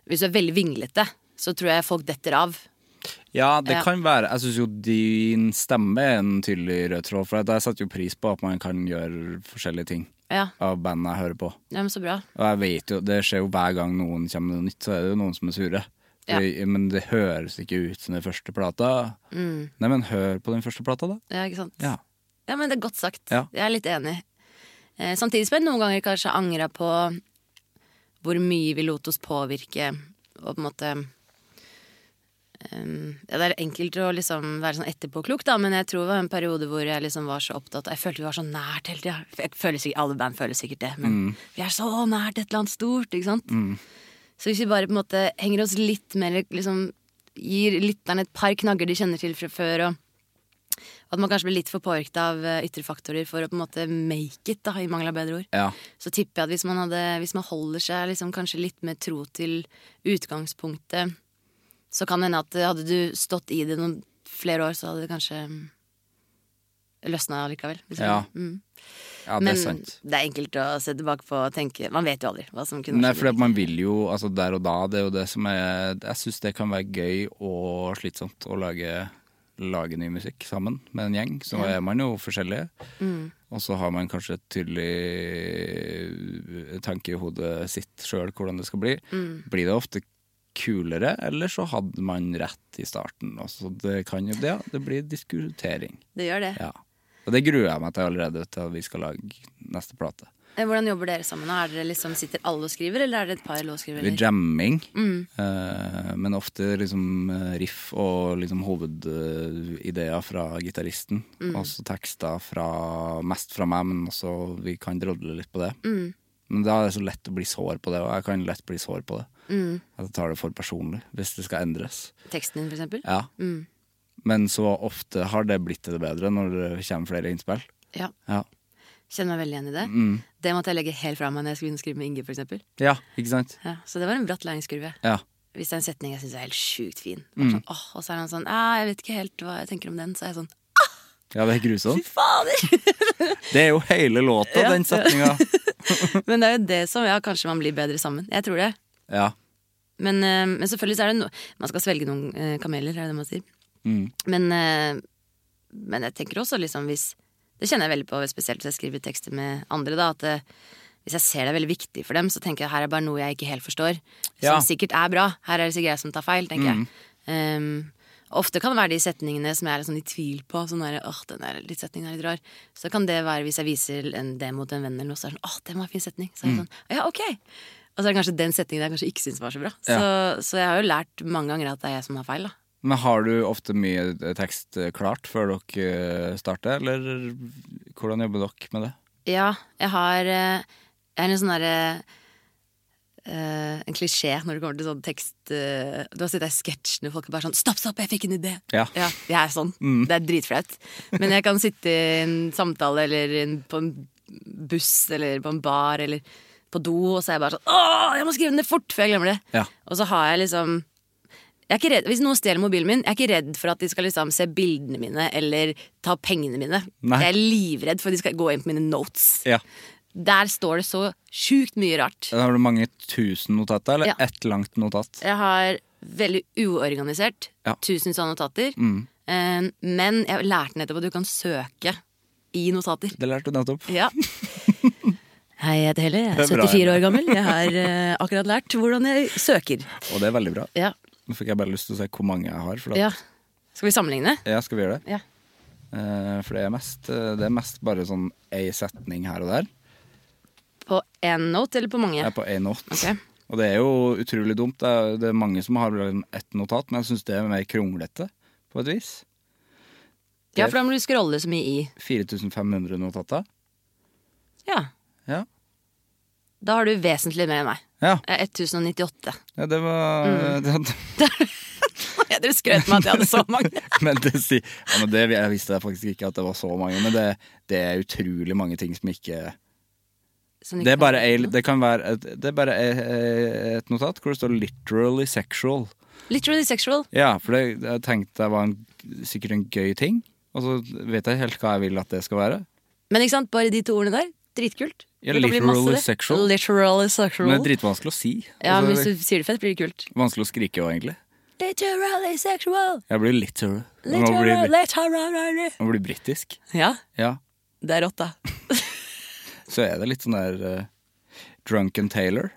Hvis du er veldig vinglete, så tror jeg folk detter av.
Ja, det
Ja.
kan være Jeg syns jo din stemme er en tydelig rød tråd, for at jeg setter jo pris på at man kan gjøre forskjellige ting
Ja,
av bandene jeg hører på.
ja men så bra.
Og jeg vet jo, det skjer jo hver gang noen kommer med noe nytt, så er det jo noen som er sure. Fordi, Men det høres ikke ut som den første plata. Nei, men hør på den første plata, da.
Mm. Ja, ikke sant?
Ja.
Ja, men det er godt sagt.
Ja.
Jeg er litt enig. Eh, samtidig som jeg noen ganger kanskje angra på hvor mye vi lot oss påvirke, og på en måte ehm, ja, Det er enkelt å liksom være sånn etterpåklok, da, men jeg tror det var en periode hvor jeg liksom var så opptatt Jeg følte vi var så nært hele tida. Jeg føler sikkert- Alle band føler sikkert det, men vi er så nært et eller annet stort, ikke sant? Så hvis vi bare på en måte henger oss litt mer liksom, Gir lytterne et par knagger de kjenner til fra før, og at man kanskje blir litt for påvirket av eh, ytre faktorer for å på en måte make it, da, i mangel av bedre ord.
Ja.
Så tipper jeg at hvis man, hadde, hvis man holder seg liksom kanskje litt mer tro til utgangspunktet, så kan det hende at eh, hadde du stått i det noen flere år, så hadde det kanskje mm, løsna likevel. hvis du
Ja.
skjønner. Mm.
ja, det
Men
er sant.
det er enkelt å se tilbake på og tenke Man vet jo aldri hva som kunne
Nei,
skjedd.
for man vil jo altså der og da, det er jo det som er Jeg syns det kan være gøy og slitsomt å lage, lage ny musikk sammen med en gjeng. Så er man jo forskjellige. Og så har man kanskje et tydelig tanke i hodet sitt sjøl hvordan det skal bli. Blir det ofte kulere, eller så hadde man rett i starten. Altså, det kan jo det, det blir diskutering.
Det gjør det.
Ja. Og det gruer jeg meg til allerede til at vi skal lage neste plate.
Eh, Hvordan jobber dere sammen? nå? Er dere liksom, sitter alle og skriver, eller er det et par låtskriver?
Litt
eller?
jamming, eh, men ofte liksom eh, riff og liksom hovedideer fra gitaristen. Og så tekster fra, mest fra meg, men også vi kan drodle litt på det. Men da er det så lett å bli sår på det, og jeg kan lett bli sår på det. At jeg tar det for personlig, hvis det skal endres.
Teksten din, for eksempel.
Ja. Men så ofte har det blitt til det bedre når det kommer flere innspill.
Ja.
Ja.
Kjenner meg veldig igjen i det. Det måtte jeg legge helt fra meg når jeg skulle skrive med Inge, for eksempel.
ja, ikke sant?
Ja, så det var en bratt læringskurve.
Ja.
Hvis det er en setning jeg syns er helt sjukt fin, bare sånn, åh, og så er han sånn «Ah, 'Jeg vet ikke helt hva jeg tenker om den', så er jeg sånn
ja, det er grusomt.
Fader!
Det er jo hele låta,
Ja.
den setninga.
Men det er jo det som Ja, kanskje man blir bedre sammen. Jeg tror det.
Ja.
Men, eh, men selvfølgelig så er det no Man skal svelge noen eh, kameler, er det det man sier. Men, eh, men jeg tenker også liksom hvis Det kjenner jeg veldig på, spesielt hvis jeg skriver tekster med andre, da, at eh, hvis jeg ser det er veldig viktig for dem, så tenker jeg her er bare noe jeg ikke helt forstår. Som
Ja.
sikkert er bra. Her er det sikkert jeg som tar feil, tenker jeg. Um, ofte kan det være de setningene som jeg er litt sånn i tvil på. Sånn der, åh, den der litt setningen er litt rar. Så kan det være hvis jeg viser en, det mot en venn eller noe, så er det sånn åh, det var en fin setning. Så er det sånn, ja, ok. Og så er det kanskje den setningen jeg kanskje ikke syns var så bra. Så, så jeg har jo lært mange ganger at det er jeg som har feil, da.
Men har du ofte mye tekst eh, klart før dere eh, starter, eller hvordan jobber dere med det?
Ja, jeg har eh, Jeg er en sånn derre eh, en klisjé når det kommer til sånn tekst eh, Du har sett de sketsjene hvor folk er bare sånn 'Stopp, stopp, jeg fikk en idé!'
Ja. Mm.
jeg er sånn. Det er dritflaut. Men jeg kan sitte i en samtale eller i en, på en buss eller på en bar eller på do, og så er jeg bare sånn 'Åh, jeg må skrive den ned fort før jeg glemmer det'.
Ja.
Og så har jeg liksom jeg er ikke redd, Hvis noen stjeler mobilen min, jeg er ikke redd for at de skal liksom se bildene mine eller ta pengene mine.
Nei.
Jeg er livredd for at de skal gå inn på mine notes.
Ja.
Der står det så sjukt mye rart.
Har du mange tusen notater, eller
Ja.
ett langt notat?
Jeg har veldig uorganisert.
Ja. Mm.
Tusen sånne notater. Eh, Men jeg lærte nettopp at du kan søke i notater.
Det lærte du nettopp.
Ja. Hei, jeg heter Helle. Jeg
Det er
er
bra,
74 år gammel. Jeg har eh, akkurat lært hvordan jeg søker.
Og det er veldig bra.
Ja.
Nå fikk jeg bare lyst til å se hvor mange jeg har. For, at,
ja. Skal vi sammenligne?
Ja, skal vi gjøre det?
Ja.
Eh, for det er, mest, eh, det er mest bare sånn ei setning her og der.
På én note eller på mange?
Jeg er på én not.
Ok.
Og det er jo utrolig dumt. Det er, det er mange som har liksom ett notat, men jeg syns det er mer kronglete på et vis.
Ja, for da må du scrolle så mye i.
4500 notater.
Ja.
Ja.
Da har du vesentlig mer enn meg.
Ja,
Jeg er 1098.
ja det var
Mm.
det,
Dere skrøt meg at jeg hadde så mange.
Men det si, ja, men det, jeg visste faktisk ikke at det var så mange, men det, det er utrolig mange ting som ikke
Som ikke
Det er bare
kan-
ei, det kan være et, det er bare ei, ei- et notat hvor det står 'literally sexual'.
Literally sexual.
Ja, for det, jeg tenkte det var en, sikkert en gøy ting, og så vet jeg ikke helt hva jeg vil at det skal være.
Men ikke sant, bare de to ordene der. Dritkult.
Ja,
Det kan bli masse
literally
det.
sexual.
Literally sexual.
Men det er dritvanskelig å si.
ja, men
Altså,
hvis du sier det fett, blir det kult.
Vanskelig å skrike òg, egentlig.
Literally sexual.
Jeg blir literal. Jeg må bli,
Literally, literally.
jeg må bli britisk.
Ja,
Ja.
det er rått, da.
Så er det litt sånn der eh, Drunken Taylor.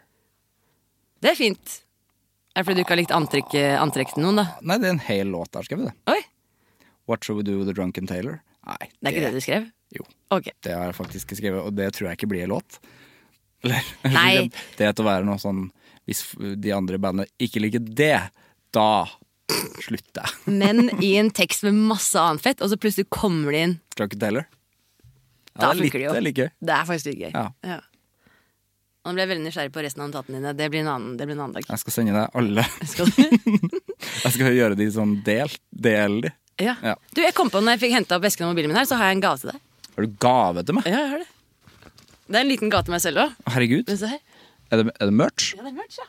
Det er fint. Er det fordi du ikke har likt antrekk, antrekk til noen, da?
Nei, det er en hel låt der, skal vi det.
Oi,
What Shall We Do With The Drunken Taylor? Nei,
det er ikke det du skrev?
Jo,
Ok.
det har jeg faktisk ikke skrevet, og det tror jeg ikke blir en låt. Eller,
Nei.
Det til å være noe sånn Hvis de andre i bandet ikke liker det, da slutter jeg.
Men i en tekst med masse annet fett, og så plutselig kommer det inn.
Drunken Taylor. det
Da
er litt-
funker det jo.
Det er litt gøy.
Det er faktisk litt gøy.
Ja.
Og nå ble jeg veldig nysgjerrig på resten av notatene dine. Det blir en annen, det blir en annen dag.
Jeg skal sende deg alle.
Skal du?
Jeg skal gjøre de sånn del. Del de.
Ja.
Ja.
Du, jeg kom på når jeg fikk henta opp vesken og mobilen min her, så har jeg en gave til deg.
Har du gave til meg?
Ja, jeg har det. Det er en liten gave til meg selv òg.
Herregud.
Men se her.
Er det, er det merch?
Ja, det er merch, ja.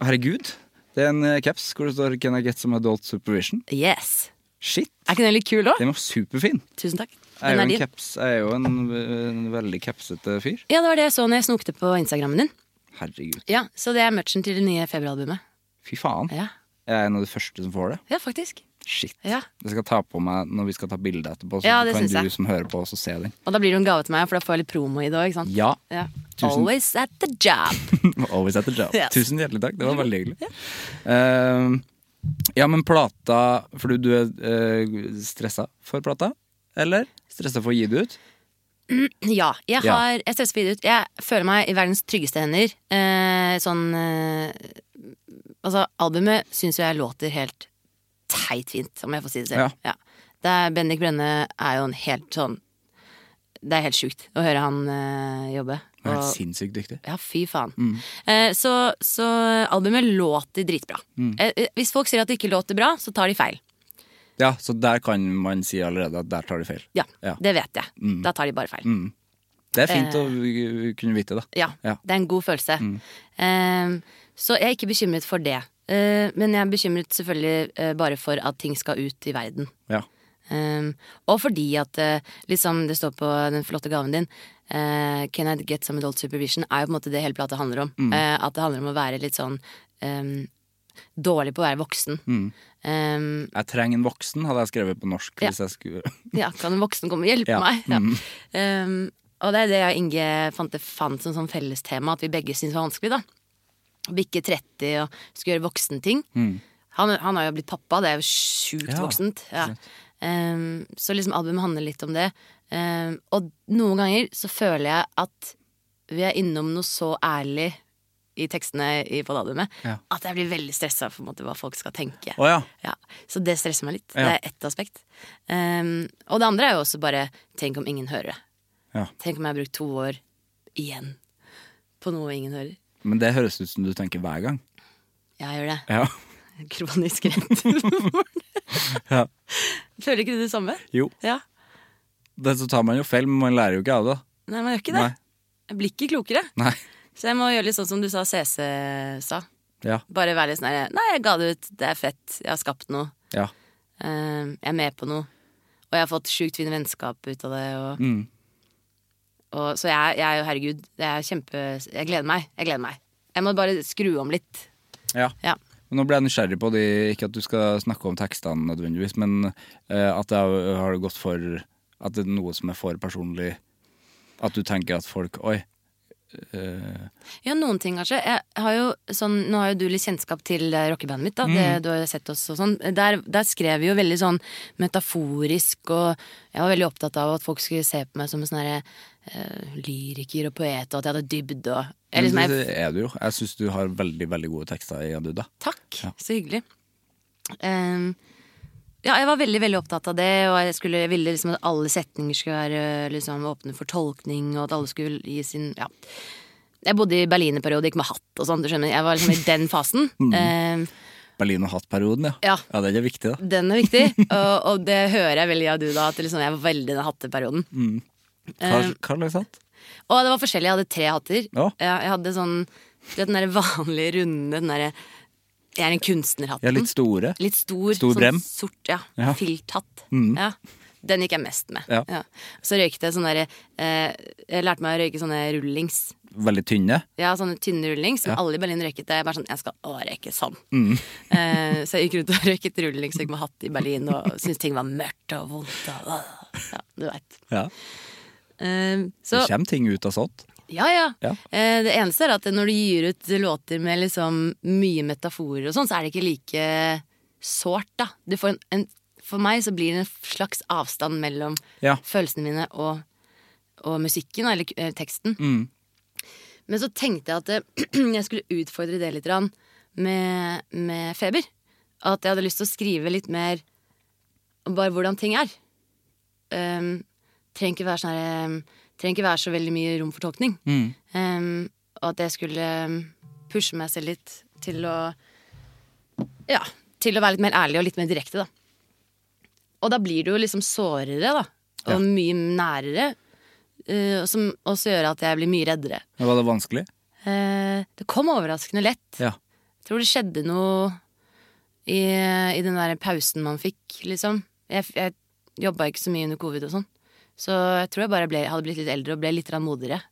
Herregud. Det er en eh, caps hvor det står 'Can I get some adult supervision'?
Yes.
Shit.
Er ikke den litt kul òg?
Den var superfin.
Tusen takk.
Jeg
Den
er
er
jo en,
din.
caps, jeg er jo en, en veldig capsete fyr.
Ja, det var det jeg så når jeg snokte på Instagrammen din.
Herregud.
Ja, Så det er merchen til det nye Feber-albumet.
Fy faen.
Ja.
Jeg er en av de første som får det.
ja, faktisk.
Shit.
Ja.
Jeg skal ta på meg når vi skal ta bilde etterpå, så
Ja, det
kan
synes
du
jeg.
som hører på, også se den.
Og da blir det jo en gave til meg, for da får jeg litt promo i det òg, ikke sant?
Ja.
Ja.
Tusen-
Always at the job.
Always at the job.
Yes.
Tusen hjertelig takk. Det var veldig hyggelig. Ehm, ja, men plata For du, du er uh, stressa for plata? Eller? Stressa for å gi det ut?
Ja. Jeg,
Ja.
har, jeg stresser for videre ut. Jeg føler meg i verdens tryggeste hender. Eh, sånn eh, Altså, albumet syns jo jeg låter helt teit fint, om jeg får si det selv. Ja. Det er, Bendik Brenne er jo en helt sånn Det er helt sjukt å høre han eh, jobbe.
Han er
og-
helt Mm. sinnssykt dyktig.
Ja, fy faen. Eh, så, så albumet låter dritbra.
Mm.
Eh, eh, hvis folk sier at det ikke låter bra, så tar de feil.
Ja, så der kan man si allerede at der tar de feil.
Ja,
Ja. Mm.
det vet jeg. Da tar de bare feil.
Det er
Eh.
fint å uh, kunne vite, da.
Ja,
Ja.
det er en god følelse. Eh, så jeg er ikke bekymret for det. Eh, men jeg er bekymret selvfølgelig eh, bare for at ting skal ut i verden.
Ja.
Eh, og fordi at eh, liksom det står på den flotte gaven din eh, Can I get some adult supervision? er jo på en måte det hele plata handler om. Eh, at det handler om å være litt sånn eh, dårlig på å være voksen. Eh,
Jeg trenger en voksen, hadde jeg skrevet på norsk.
Ja.
Hvis jeg skulle
Ja, kan en voksen komme og hjelpe
Ja. Mm.
meg? Ja. Um, og det er det jeg og Inge fant, det fant som sånn fellestema, at vi begge syntes var vanskelig. da Å bikke 30 og skulle gjøre voksenting. Han, han har jo blitt pappa, det er jo sjukt
Mm. Ja,
voksent. Ja. Um, så liksom albumet handler litt om det. Um, og noen ganger så føler jeg at vi er innom noe så ærlig i tekstene i på det albumet
Ja.
at jeg blir veldig stressa for på en måte, hva folk skal tenke.
Å ja.
Ja, Så det stresser meg litt. Det
Ja.
er ett aspekt. Ehm, og det andre er jo også bare Tenk om ingen hører det.
Ja.
Tenk om jeg har brukt to år igjen på noe ingen hører.
Men det høres ut som du tenker hver gang.
Jeg gjør det.
Ja.
Kronisk rett.
Ja.
Føler ikke du det samme?
Jo.
Ja.
Det, så tar man jo feil, men man lærer jo ikke av det.
Nei, man gjør ikke det.
Nei.
Jeg blir ikke klokere.
Nei.
Så jeg må gjøre litt sånn som du sa CC sa.
Ja.
Bare være litt sånn her Nei, jeg ga det ut. Det er fett. Jeg har skapt noe.
Ja.
Ehm, jeg er med på noe. Og jeg har fått sjukt fine vennskap ut av det. Og,
Mm.
og, så jeg, jeg er jo herregud, jeg er kjempe Jeg gleder meg. Jeg gleder meg. Jeg må bare skru om litt.
ja.
Ja.
Men Nå ble jeg nysgjerrig på de, ikke at du skal snakke om tekstene nødvendigvis, men eh, at det har- har gått for At det er noe som er for personlig. At du tenker at folk Oi. eh,
Ja, noen ting kanskje. Jeg har jo, sånn, nå har jo du litt kjennskap til eh, rockebandet mitt.
Mm.
Da. Det, du har jo sett oss og sånn. Der, der skrev vi jo veldig sånn metaforisk, og jeg var veldig opptatt av at folk skulle se på meg som en sånn herre eh, lyriker og poet, og at jeg hadde dybde og jeg, liksom,
men
jeg,
det er Mm, du jo. Jeg syns du har veldig veldig gode tekster i Aduda.
Takk,
Ja.
så hyggelig. Ehm, ja, jeg var veldig veldig opptatt av det, og jeg, skulle, jeg ville liksom at alle setninger skulle være liksom, åpne for tolkning, og at alle skulle gi sin Ja. Jeg bodde i Berlin en periode, gikk med hatt og sånn, du skjønner. Jeg var liksom i den fasen.
Mm.
Ehm,
Berlin og hatt-perioden, ja.
Ja.
ja. Den er viktig, da.
den er viktig, og, og det hører jeg veldig av du, da, at liksom, jeg var veldig i den hatteperioden.
Mm. Hva
Eh.
hva slags hatt?
Og det var forskjellig, jeg hadde tre hatter.
Ja.
Jeg, jeg hadde sånn du vet, den der vanlige, runde, den derre Jeg er en kunstnerhatten.
Ja, litt store.
Litt stor,
Stor
sånn
brem.
sort, ja,
Ja. Mm.
filthatt. Ja. Den gikk jeg mest med.
Ja.
Så røykte jeg sånn derre eh, Jeg lærte meg å røyke sånne rullings.
Veldig tynne.
Ja, sånne tynne rullings som alle i Berlin røyket. Jeg bare sånn, jeg skal å røyke sånn.
Mm.
Eh, så jeg gikk rundt og røyket rullings og gikk med hatt i Berlin og syntes ting var mørkt og vondt og øh. Ja, du veit.
Ja.
Eh, så
Det kommer ting ut av sånt.
ja, ja.
Ja.
Eh, det eneste er at når du gir ut låter med liksom mye metaforer og sånn, så er det ikke like sårt, da. Du får en, en, for meg så blir det en slags avstand mellom
Ja.
følelsene mine og, og musikken, eller eh, teksten.
Mm.
Men så tenkte jeg at eh, jeg skulle utfordre det litt grann med, med feber. At jeg hadde lyst til å skrive litt mer om bare hvordan ting er. Um, trenger ikke være sånn her, um, Trenger ikke være så veldig mye rom for tolkning. Um, og at jeg skulle um, pushe meg selv litt til å Ja, til å være litt mer ærlig og litt mer direkte, da. Og da blir det jo liksom sårere, da.
Ja.
Og mye nærere. Uh, og som også gjør at jeg blir mye reddere.
Men Var det vanskelig?
Eh, det kom overraskende lett.
Ja.
Jeg tror det skjedde noe i, i den der pausen man fikk, liksom. Jeg, jeg jobba ikke så mye under covid og sånn. Så jeg tror jeg bare ble, hadde blitt litt eldre og ble litt grann modigere.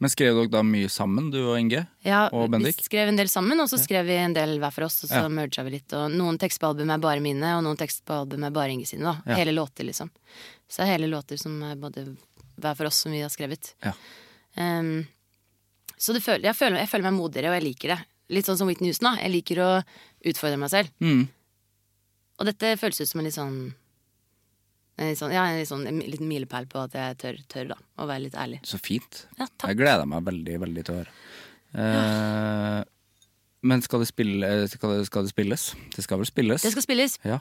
Men skrev dere da mye sammen, du og Inge?
Ja,
Og Bendik?
Vi skrev en del sammen, og så skrev vi en del hver for oss. Og så
Ja.
merga vi litt. Og noen tekster på album er bare mine, og noen tekster på album er bare Inge sine. da
Ja.
Hele låter, liksom. Så det er hele låter som er både hver for oss, som vi har skrevet.
Ja.
Ehm, så det føler, jeg, føler, jeg føler meg modigere, og jeg liker det. Litt sånn som Whitney Houston. da Jeg liker å utfordre meg selv.
Mm.
Og dette føles ut som en litt sånn en litt sånn, ja, en litt sånn en liten milepæl på at jeg tør, tør da, å være litt ærlig.
Så fint.
Ja, takk.
Jeg gleder meg veldig, veldig til å høre. Eh, men skal det, spille, eh, skal, det, skal det spilles? Det skal vel spilles?
Det skal spilles.
Ja.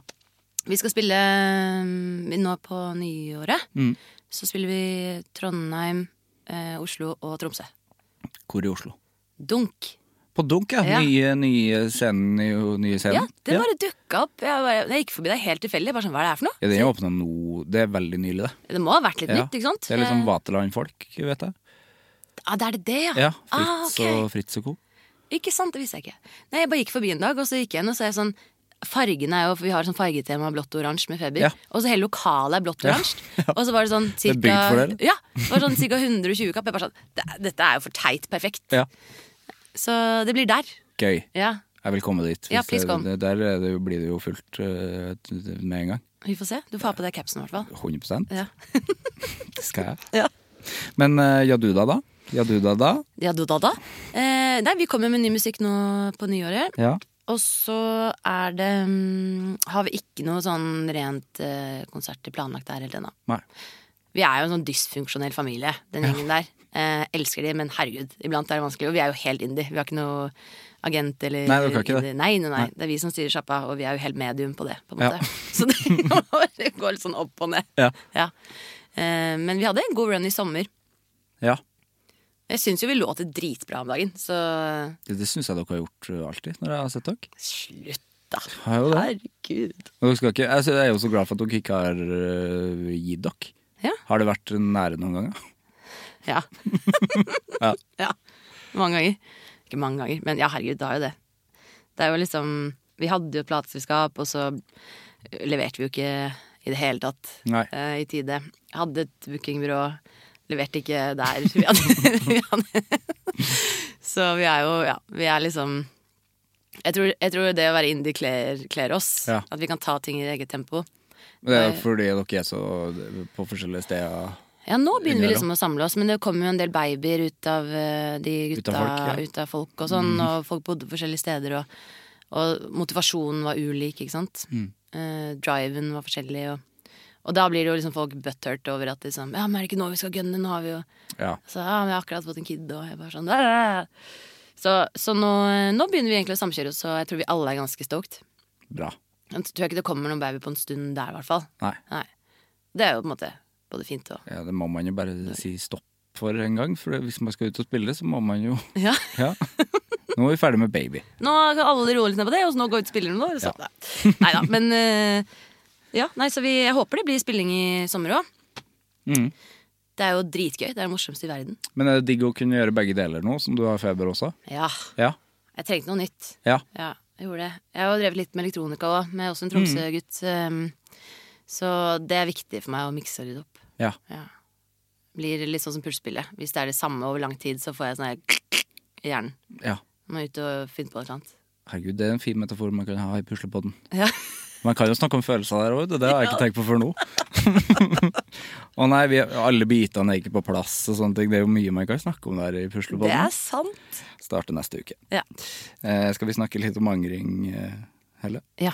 Vi skal spille um, nå på Mm. nyåret. Så spiller vi Trondheim, eh, Oslo og Tromsø.
Hvor i Oslo?
Dunk.
På Dunk, ja.
Ja.
Nye, nye scenen. i- Nye scenen.
Ja, det bare dukka opp. Jeg, bare, jeg gikk forbi deg helt tilfeldig. Bare sånn, hva er det her for noe?
Ja, den er åpna nå. Det er veldig nylig, det.
Det må ha vært litt
Ja.
nytt, ikke sant?
Det
Eh.
er litt sånn Vaterland-folk, vet jeg.
Ah, det er det det, ja?
Ja,
ah,
Fritz,
ok.
og, Fritz og co.
Ikke sant, det visste jeg ikke. Nei, Jeg bare gikk forbi en dag, og så gikk jeg inn og så er jeg sånn Fargene er jo, for Vi har sånn fargetema blått og oransje med feber.
Ja.
Og så hele lokalet er blått og oransje. Og så var det sånn
er
cirka,
bygd for dere.
Ja, det var sånn ca. 120 kapp. Jeg bare sånn, "Det- Dette er jo for teit perfekt.
Ja.
Så det blir der.
Gøy.
Ja,
Jeg vil komme dit.
Ja,
Hvis
please
det-
come.
det- Der er det, jo- blir det jo fullt eh, med en gang.
Vi får se. Du får ha på deg capsen i hvert fall.
100
Ja.
Det skal jeg.
Ja.
Men uh, Jaduda, da? Jaduda, da?
Ja, du da, da. Eh, nei, vi kommer med ny musikk nå på nyåret.
Ja.
Og så er det mm, Har vi ikke noe sånn rent eh, konserter planlagt der helt ennå.
Nei.
Vi er jo en sånn dysfunksjonell familie, den gjengen der. Eh, elsker de, men herregud, iblant er det vanskelig. Og vi er jo helt indie. Vi har ikke noe agent eller
Nei, dere har ikke det.
indie. Nei, nei, nei. Det er vi som styrer sjappa, og vi er jo helt medium på det, på en
Ja.
måte. Så det, det går litt sånn opp og ned.
Ja.
Eh, men vi hadde en god run i sommer.
ja.
Jeg syns jo vi låter dritbra om dagen, så
Det, det syns jeg dere har gjort eh, alltid, når jeg har sett dere.
slutt, da.
Har jo det.
Herregud.
Men Dere skal ikke, jeg, sy- jeg er jo så glad for at dere ikke har eh, gitt dere.
Ja.
Har det vært nære noen ganger?
Ja.
Ja.
ja. Mange ganger. Ikke mange ganger, men ja, herregud, det har jo det. Det er jo liksom Vi hadde jo et plateselskap, og så leverte vi jo ikke i det hele tatt
Nei.
eh, i tide. Jeg hadde et bookingbyrå, leverte ikke der. Vi hadde, vi hadde. Så vi er jo Ja, vi er liksom jeg tror, jeg tror det å være indie kler, kler oss.
Ja.
At vi kan ta ting i eget tempo.
Det er jo fordi dere er så eh, på forskjellige steder.
Ja, nå begynner vi
Innimellom.
liksom å samle oss, men det kommer jo en del babyer ut av eh, de
Ut av
gutta, ut av
folk,
folk,
ja. Mm.
og sånn, og folk bodde forskjellige steder, og, og motivasjonen var ulik, ikke sant?
Mm.
Eh, driven var forskjellig, og, og da blir det jo liksom folk butthurt over at liksom, ja, men er det ikke nå vi skal gønne, nå har vi jo,
Ja.
så ja, men jeg har akkurat fått en kid, og jeg bare sånn, "Æ." så, så nå, nå begynner vi egentlig å samkjøre oss, og jeg tror vi alle er ganske stoked.
Bra.
Jeg tror ikke det kommer noen baby på en stund der, i hvert fall.
Nei.
Nei. Det er jo på en måte både fint og...
Ja, det må man jo bare si stopp for en gang, for hvis man skal ut og spille, så må man jo
Ja.
Ja. Nå er vi ferdig med baby.
Nå kan alle roe litt ned på det, og så nå går ut spillerne våre. Så.
Ja.
Nei da, men eh, Ja, nei, så vi, jeg håper det blir spilling i sommer òg.
Mhm.
Det er jo dritgøy. Det er det morsomste i verden.
Men er det digg å kunne gjøre begge deler nå, som du har feber også?
Ja.
Ja.
Jeg trengte noe nytt.
Ja.
Ja, jeg gjorde det. Jeg har jo drevet litt med elektronika òg, med også en Tromsø-gutt. ehm, så det er viktig for meg å mikse og rydde opp.
ja.
Ja. Blir litt sånn som pulsspillet. Hvis det er det samme over lang tid, så får jeg sånn her i hjernen.
ja.
Må ut og finne på et eller annet.
Herregud, det er en fin metafor man kan ha i puslepodden.
Ja.
Man kan jo snakke om følelser der òg, det har jeg ikke tenkt på før nå. Å nei, vi, alle bitene er ikke på plass og sånne ting. Det er jo mye man kan snakke om der i
Det er
puslepodden.
sant.
Starte neste uke.
Ja.
Eh, skal vi snakke litt om angring, eh, Helle?
ja.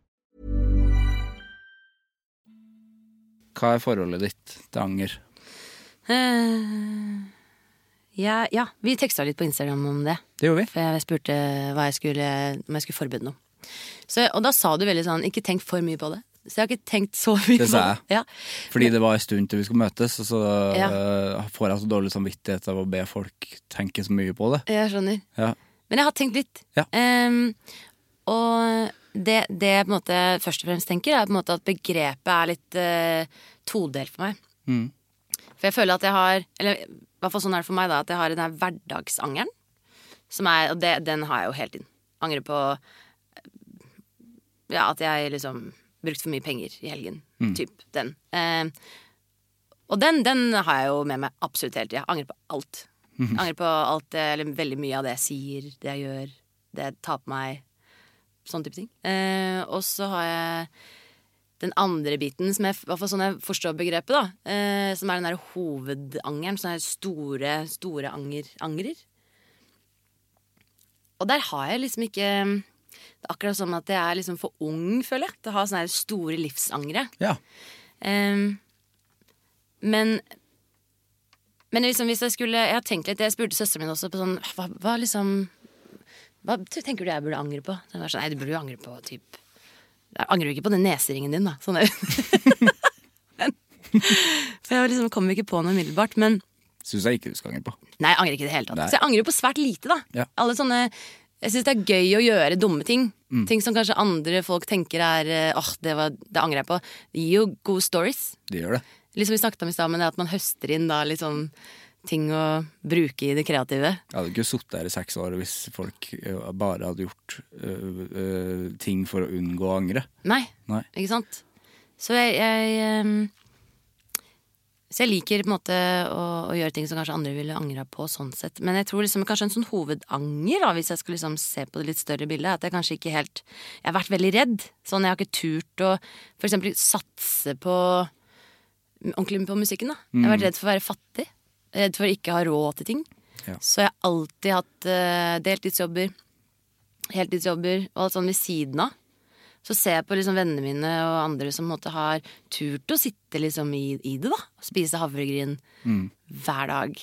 Hva er forholdet ditt til anger?
Eh, ja, ja, vi teksta litt på Instagram om det.
Det gjorde vi.
For jeg spurte hva jeg skulle, om jeg skulle forberede noe. Så, og da sa du veldig sånn 'ikke tenk for mye på det'. Så jeg har ikke tenkt så mye
Det sa
på det. Ja.
Fordi det var en stund til vi skulle møtes, og så
Ja.
eh, får jeg så dårlig samvittighet av å be folk tenke så mye på det.
Jeg skjønner.
Ja.
Men jeg har tenkt litt.
Ja.
Ehm, og det, det jeg på en måte først og fremst tenker, er på en måte at begrepet er litt uh, todelt for meg. For jeg føler at jeg har Eller i hvert fall sånn er det for meg, da. At jeg har den her hverdagsangeren. Som er, og det, den har jeg jo hele tiden. Angrer på ja, at jeg liksom brukte for mye penger i helgen. Typ den. Eh, og den, den har jeg jo med meg absolutt hele tida. Angrer på alt. Angrer på alt det, eller veldig mye av det jeg sier, det jeg gjør, det jeg tar på meg. Sånn type ting. Eh, og så har jeg den andre biten, som jeg, i hvert fall sånn jeg forstår begrepet, da, eh, som er den der hovedangeren. Sånne store, store anger, angrer. Og der har jeg liksom ikke Det er akkurat som at jeg er liksom for ung, føler jeg, til å ha sånne her store livsangre.
Ja.
Ehm, men men liksom hvis jeg skulle Jeg har tenkt litt, jeg spurte søsteren min også på sånn Hva, hva liksom Hva t- tenker du jeg burde angre på? Hun var sånn, Nei, du burde jo angre på typ «Nei, Angrer du ikke på den neseringen din, da? Sånn er Men- For jeg var liksom kom ikke på noe umiddelbart. Men
Syns jeg ikke du skal angre på.
Nei, jeg angrer ikke i det hele tatt.
Nei.
Så jeg angrer jo på svært lite, da.
Ja.
Alle sånne Jeg syns det er gøy å gjøre dumme ting.
Mm.
Ting som kanskje andre folk tenker er eh, Åh, det, var, det angrer jeg på. Det gir jo gode stories.
Det gjør det.
Liksom Vi snakket om i stad, men det at man høster inn da litt sånn ting å bruke i det kreative.
Jeg hadde ikke sittet her i seks år hvis folk eh, bare hadde gjort eh, eh, ting for å unngå å angre.
Nei,
Nei.
ikke sant? Så jeg, jeg ehm, Så jeg liker på en måte å, å gjøre ting som kanskje andre ville angra på, sånn sett. Men jeg tror liksom kanskje en sånn hovedanger, da, hvis jeg skal liksom se på det litt større bildet, er at jeg kanskje ikke helt Jeg har vært veldig redd. Sånn, jeg har ikke turt å for eksempel satse på ordentlig på musikken, da. Jeg
Mm.
har vært redd for å være fattig. Redd for å ikke ha råd til ting.
Ja.
Så jeg har alltid hatt eh, deltidsjobber, heltidsjobber og alt sånn ved siden av. Så ser jeg på liksom vennene mine og andre som på en måte har turt å sitte liksom i, i det. da Og spise havregryn hver dag.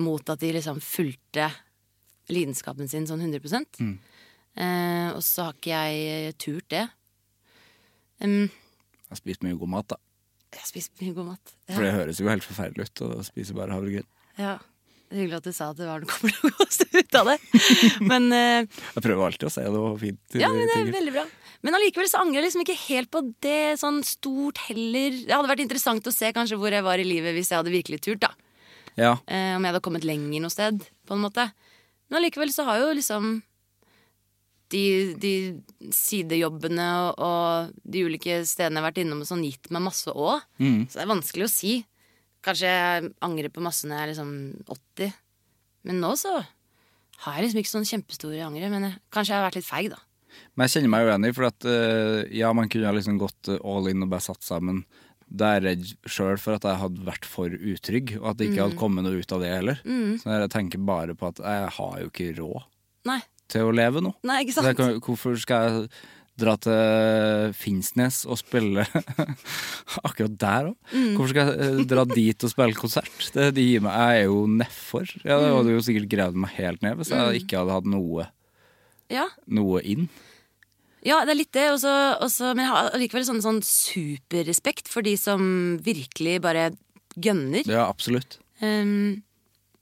Mot at de liksom fulgte lidenskapen sin sånn 100 eh, Og så har ikke jeg eh, turt det. Em,
Jeg har spist mye god mat, da.
jeg har spist mye god mat. Ja,
For det høres jo helt forferdelig ut å spise bare havregryn.
ja. Det er Hyggelig at du sa at det var noe kommer til å gå oss ut av det. Men eh,
Jeg prøver alltid å si det var fint. til
Ja, men det er
ting.
veldig bra. Men allikevel så angrer jeg liksom ikke helt på det sånn stort heller. Det hadde vært interessant å se kanskje hvor jeg var i livet hvis jeg hadde virkelig turt, da.
ja.
Eh, om jeg hadde kommet lenger noe sted, på en måte. Men allikevel så har jo liksom de, de sidejobbene og, og de ulike stedene jeg har vært innom, og sånn, gitt meg masse òg. Så det er vanskelig å si. Kanskje jeg angrer på masse når jeg er liksom 80. Men nå så har jeg liksom ikke sånn kjempestore angre. Men jeg, kanskje jeg har vært litt feig, da.
Men jeg kjenner meg uenig, for at eh, ja, man kunne ha liksom gått eh, all in og bare satt sammen. Da er jeg redd sjøl for at jeg hadde vært for utrygg, og at det ikke
Mm.
hadde kommet noe ut av det heller. Så jeg tenker bare på at jeg har jo ikke råd
Nei.
til å leve nå.
Nei,
Så
ikke sant?
jeg kan, hvorfor skal jeg dra til Finnsnes og spille akkurat der òg? Hvorfor skal jeg eh, dra dit og spille konsert? Det, det gir meg, jeg er jo nedfor. Jeg hadde jo sikkert gravd meg helt ned hvis jeg ikke hadde hatt noe,
Ja,
noe inn.
ja det er litt det. Og så- og så- men jeg har allikevel sånn, sånn superrespekt for de som virkelig bare gønner.
Ja, absolutt.
Um,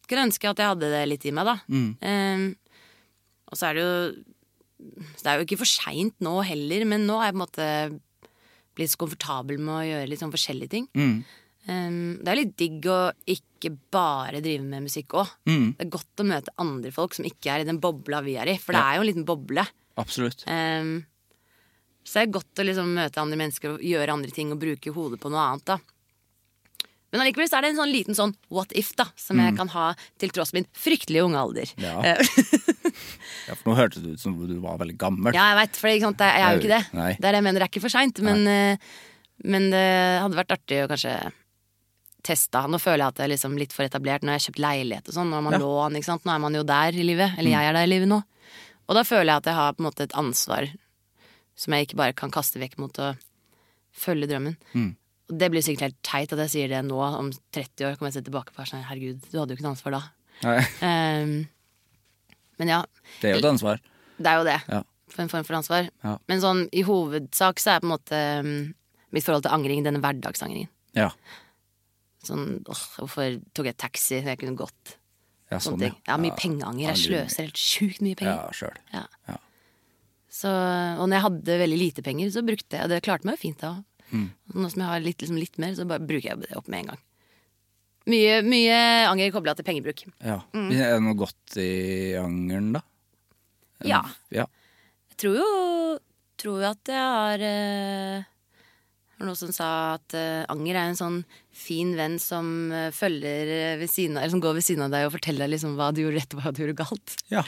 skulle ønske at jeg hadde det litt i meg, da.
Mm.
Um, og så er det jo så Det er jo ikke for seint nå heller, men nå har jeg på en måte blitt så komfortabel med å gjøre litt sånn forskjellige ting.
Mm.
Um, det er litt digg å ikke bare drive med musikk òg.
Mm.
Det er godt å møte andre folk som ikke er i den bobla vi er i, for det er jo en liten boble.
Absolutt.
Ehm, så det er godt å liksom møte andre mennesker og gjøre andre ting og bruke hodet på noe annet. da men allikevel så er det en sånn liten sånn what if da som jeg kan ha til tross min fryktelige unge alder.
Mm. Ja.
Eh,
Ja, for nå hørtes det ut som du var veldig gammel.
ja jeg veit, for ikke sant, jeg, jeg er jo ikke det.
Nei.
Det er det jeg mener, det er ikke for seint. Men, eh, men det hadde vært artig å kanskje teste han. Nå føler jeg at jeg er liksom litt for etablert. Nå har jeg kjøpt leilighet og sånn. Nå har man lån, ikke sant. Nå er man jo der i livet. Eller jeg er der i livet nå. Og da føler jeg at jeg har på en måte et ansvar som jeg ikke bare kan kaste vekk mot å følge drømmen. Og det blir sikkert helt teit at jeg sier det nå. Om 30 år kommer jeg til å se tilbake på det og sånn, herregud, du hadde jo ikke noe ansvar da.
Nei,
Ehm, men ja,
det er jo et ansvar.
det er jo det.
Ja.
For en form for ansvar.
Ja.
Men sånn, i hovedsak så er på en måte mm, mitt forhold til angring denne hverdagsangringen.
Ja,
Sånn, åh, hvorfor tok jeg taxi når jeg kunne gått?
ja
Sånne
sånn,
ting. Jeg har mye pengeanger. Jeg
Angrer mye.
sløser helt sjukt mye
Ja,
penger.
sjøl.
Ja.
Ja.
Så, og når jeg hadde veldig lite penger, så brukte jeg Og det klarte meg jo fint da òg.
Mm.
Nå som jeg har litt, liksom litt mer, så bare bruker jeg det opp med en gang. Mye, mye anger kobla til pengebruk.
Ja. Er det noe godt i angeren, da?
Ja.
Ja.
Jeg tror jo tror jo at jeg har eh, det var noen som sa at eh, anger er en sånn fin venn som eh, følger eh, ved siden av, eller som går ved siden av deg og forteller deg liksom hva du gjorde rett og hva du gjorde galt.
ja.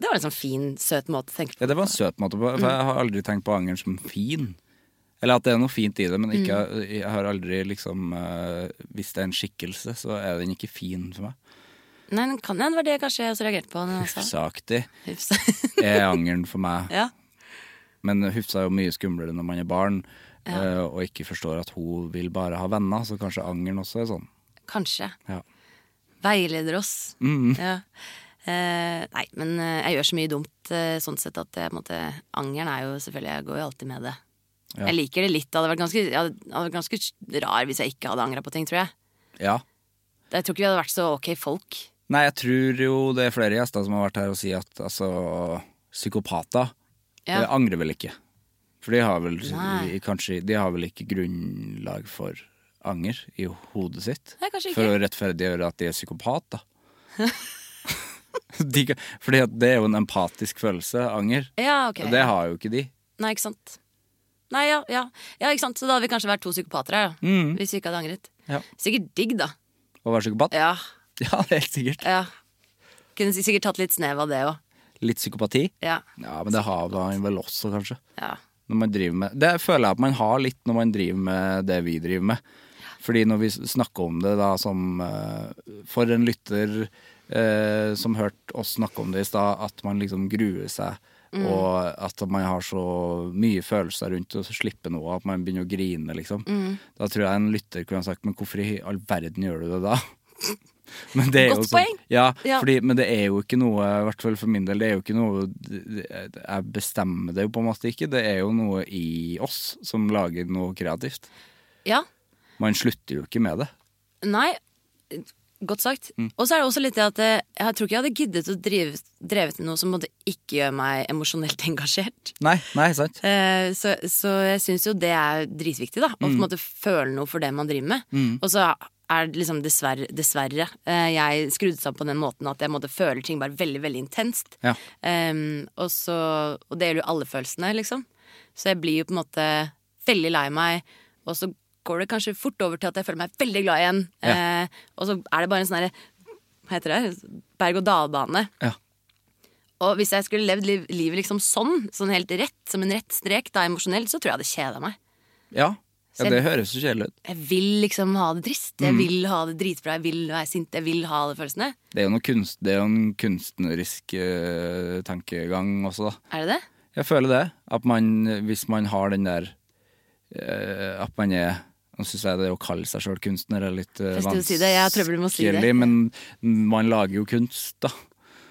Det var en sånn fin, søt måte å tenke på.
Ja, det var en søt måte på For jeg har aldri tenkt på angeren som fin. Eller at det er noe fint i det, men ikke, jeg har aldri liksom eh, Hvis det er en skikkelse, så er den ikke fin for meg.
Nei, den kan hende det var det kanskje jeg også reagerte på. Når jeg sa.
Hufsaktig
Hufsa.
er angeren for meg.
ja.
Men hufsa er jo mye skumlere når man er barn eh, og ikke forstår at hun vil bare ha venner, så kanskje angeren også er sånn.
Kanskje.
Ja.
Veileder oss.
Mm.
Ja. Eh, nei, men eh, jeg gjør så mye dumt eh, sånn sett at jeg, på en måte, angeren er jo selvfølgelig Jeg går jo alltid med det.
Ja.
Jeg liker det litt. Det hadde vært ganske, jeg hadde, hadde vært ganske rar hvis jeg ikke hadde angra på ting, tror jeg.
ja.
Jeg tror ikke vi hadde vært så ok folk.
Nei, jeg tror jo det er flere gjester som har vært her og sier at altså, psykopater
Ja.
eh, angrer vel ikke. For de har vel,
Nei.
kanskje, de har vel ikke grunnlag for anger i hodet sitt.
Nei, kanskje ikke.
For å rettferdiggjøre at de er psykopater. de, kan- fordi at det er jo en empatisk følelse, anger.
Ja, ok.
Og det har jo ikke de.
Nei, ikke sant. Nei, ja, ja. ja, ikke sant. Så da hadde vi kanskje vært to psykopater her, da. Hvis vi ikke hadde angret.
Mm. Ja.
Sikkert digg, da.
Å være psykopat?
Ja.
Ja, det er helt sikkert.
ja. Kunne sikkert tatt litt snev av det òg.
Litt psykopati?
Ja.
Ja, men det har man vel også, kanskje.
ja.
når man driver med Det føler jeg at man har litt når man driver med det vi driver med. Fordi når vi snakker om det da som eh, For en lytter eh, som hørte oss snakke om det i stad, at man liksom gruer seg.
Mm.
Og at man har så mye følelser rundt det, og så slipper noe, at man begynner å grine, liksom.
Mm.
Da tror jeg en lytter kunne ha sagt Men hvorfor i all verden gjør du det da? Men det er
Godt
jo sånn-
poeng.
Ja,
Ja.
Fordi, men det er jo ikke noe, i hvert fall for min del, det er jo ikke noe Jeg bestemmer det jo på en måte ikke. Det er jo noe i oss som lager noe kreativt.
ja.
Man slutter jo ikke med det.
Nei, godt sagt. Og så er det også litt det at eh, jeg tror ikke jeg hadde giddet å drive, drevet med noe som måtte ikke gjøre meg emosjonelt engasjert.
Nei, nei, sant?
Eh, Så, så jeg syns jo det er dritviktig, da. Å på en måte føle noe for det man driver med. Og så er det liksom dessverre, dessverre eh, jeg skrudd sammen på den måten at jeg måtte føle ting bare veldig, veldig intenst.
Ja.
Em, og, så, og det gjelder jo alle følelsene, liksom. Så jeg blir jo på en måte veldig lei meg, og så går det kanskje fort over til at jeg føler meg veldig glad igjen.
Ja.
Eh, og så er det bare en sånn herre Hva heter det? Berg-og-dal-bane.
Ja.
Og hvis jeg skulle levd liv, livet liksom sånn, sånn helt rett, som en rett strek da emosjonelt, så tror jeg det kjeda meg.
Ja, ja
Selv-
det høres jo kjedelig ut.
Jeg vil liksom ha det trist.
Mm.
Jeg vil ha det dritbra. Jeg vil være sint. Jeg vil ha alle følelsene.
Det er jo, noe kunst, det er jo en kunstnerisk eh, tankegang også, da.
Er det det?
Jeg føler det. At man, hvis man har den der eh, At man er Nå syns jeg det å kalle seg sjøl kunstner er litt uh,
Fristende å si det. Jeg har trøbbel med å si det.
men man lager jo kunst, da.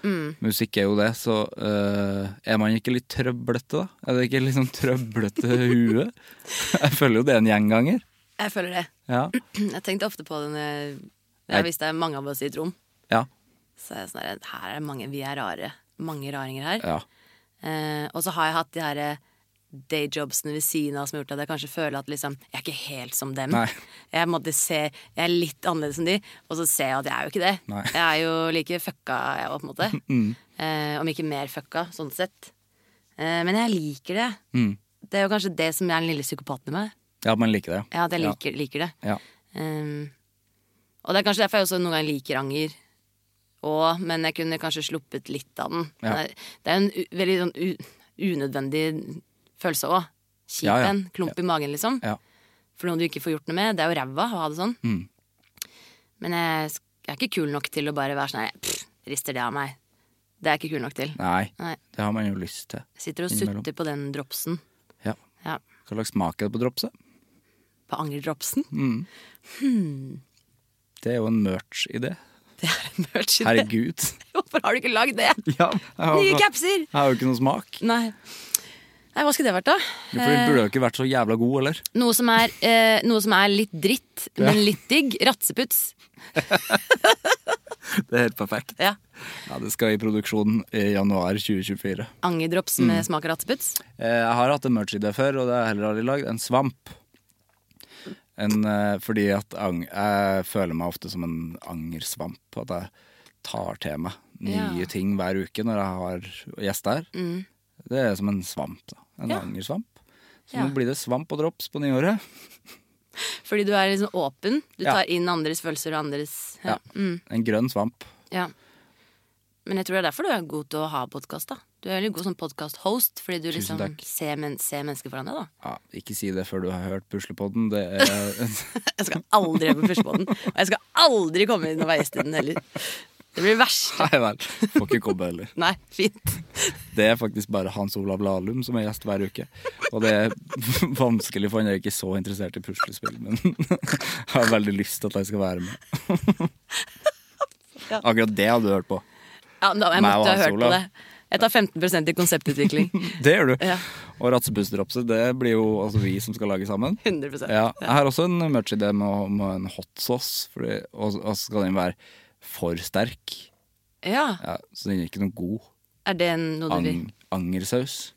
Mm.
Musikk er jo det, så eh, er man ikke litt trøblete, da? Er det ikke litt sånn trøblete hue? Jeg føler jo det er en gjenganger.
Jeg føler det.
Ja.
Jeg tenkte ofte på det når jeg, når jeg visste det er mange av oss i et rom.
Ja.
Så er jeg sånn her, her er det mange, Vi er rare. Mange raringer her.
ja.
Eh, og så har jeg hatt de her eh, dayjobsene ved siden av som har gjort at jeg kanskje føler at liksom, jeg er ikke helt som dem.
Nei.
Jeg, måtte se, jeg er litt annerledes enn de, og så ser jeg at jeg er jo ikke det.
Nei. Mm.
Jeg er jo like fucka, jeg òg, på en måte. Eh, om ikke mer fucka, sånn sett. Eh, men jeg liker det.
Mm.
Det er jo kanskje det som er den lille psykopaten i meg.
Ja, man liker det,
Ja, at jeg liker, liker det.
Ja.
Um, og det er kanskje derfor jeg også noen ganger liker anger. Og, men jeg kunne kanskje sluppet litt av den.
Ja.
Det er- Det er en u veldig sånn u unødvendig følelse òg. Kjip
Ja, ja.
en. Klump i magen, liksom.
Ja. Mm.
For noe du ikke får gjort noe med. Det er jo ræva å ha det sånn. Men jeg, sk- jeg er ikke kul nok til å bare være sånn her pff, Rister det av meg. Det er jeg ikke kul nok til.
Nei,
Nei.
det har man jo lyst til.
Jeg sitter og
Innimellom.
sutter på den dropsen.
Ja.
Ja.
Hva slags smak er det på dropset?
På angerdropsen.
Mm. Det er jo en merch-idé.
Det er en merch i det.
Herregud.
Hvorfor har du ikke lagd det?
Ja, altså. jeg har-
Nye capser!
Jeg har jo ikke noen smak.
Nei. Nei, hva skulle det vært, da?
For
Eh.
den burde jo ikke vært så jævla god, eller?
Noe som er, eh, noe som er litt dritt, men litt digg. Ratseputs.
Det er helt perfekt.
Ja.
Ja, det skal i produksjon i januar 2024.
Angerdrops
Mm.
med smak av ratteputz.
Eh, Jeg har hatt en merch i det før, og det har jeg heller aldri lagd. En svamp. En, eh, fordi at ang, jeg føler meg ofte som en angersvamp. At jeg tar til meg nye
Ja. Mm.
ting hver uke når jeg har gjester. Det er som en svamp. da En
Ja.
angersvamp. Så
Ja.
nå blir det svamp og drops på nyåret.
Fordi du er liksom åpen. Du
Ja.
tar inn andres følelser og andres
Ja.
ja. Mm,
En grønn svamp.
ja. Men jeg tror det er derfor du er god til å ha podkast. Du er veldig god som podkast-host, fordi du
Tusen
liksom
takk.
ser, men ser mennesker foran deg. da
Ja, ikke si det før du har hørt Puslepodden. Det er
Jeg skal aldri være på førstebåten, og jeg skal aldri komme inn og være gjest i den heller. Det blir verst.
Nei vel. Får ikke komme heller.
Nei, fint.
Det er faktisk bare Hans Olav Lahlum som er gjest hver uke. Og det er vanskelig, for han er ikke så interessert i puslespill, men jeg har veldig lyst til at han skal være med. Akkurat det hadde du hørt på.
Ja, men da,
Meg og
jeg måtte ha
Hans
hørt på
Olav.
det. Jeg tar 15 i konseptutvikling.
Det gjør du.
Ja.
Og Ratsepusteropset, det blir jo altså vi som skal lage sammen.
100
Ja, jeg har også en merch-idé med, med en hot sauce, fordi, og, og så skal den være for sterk.
Ja,
Ja, så den er ikke noe god.
Er det noe du vil?
Ang, angersaus.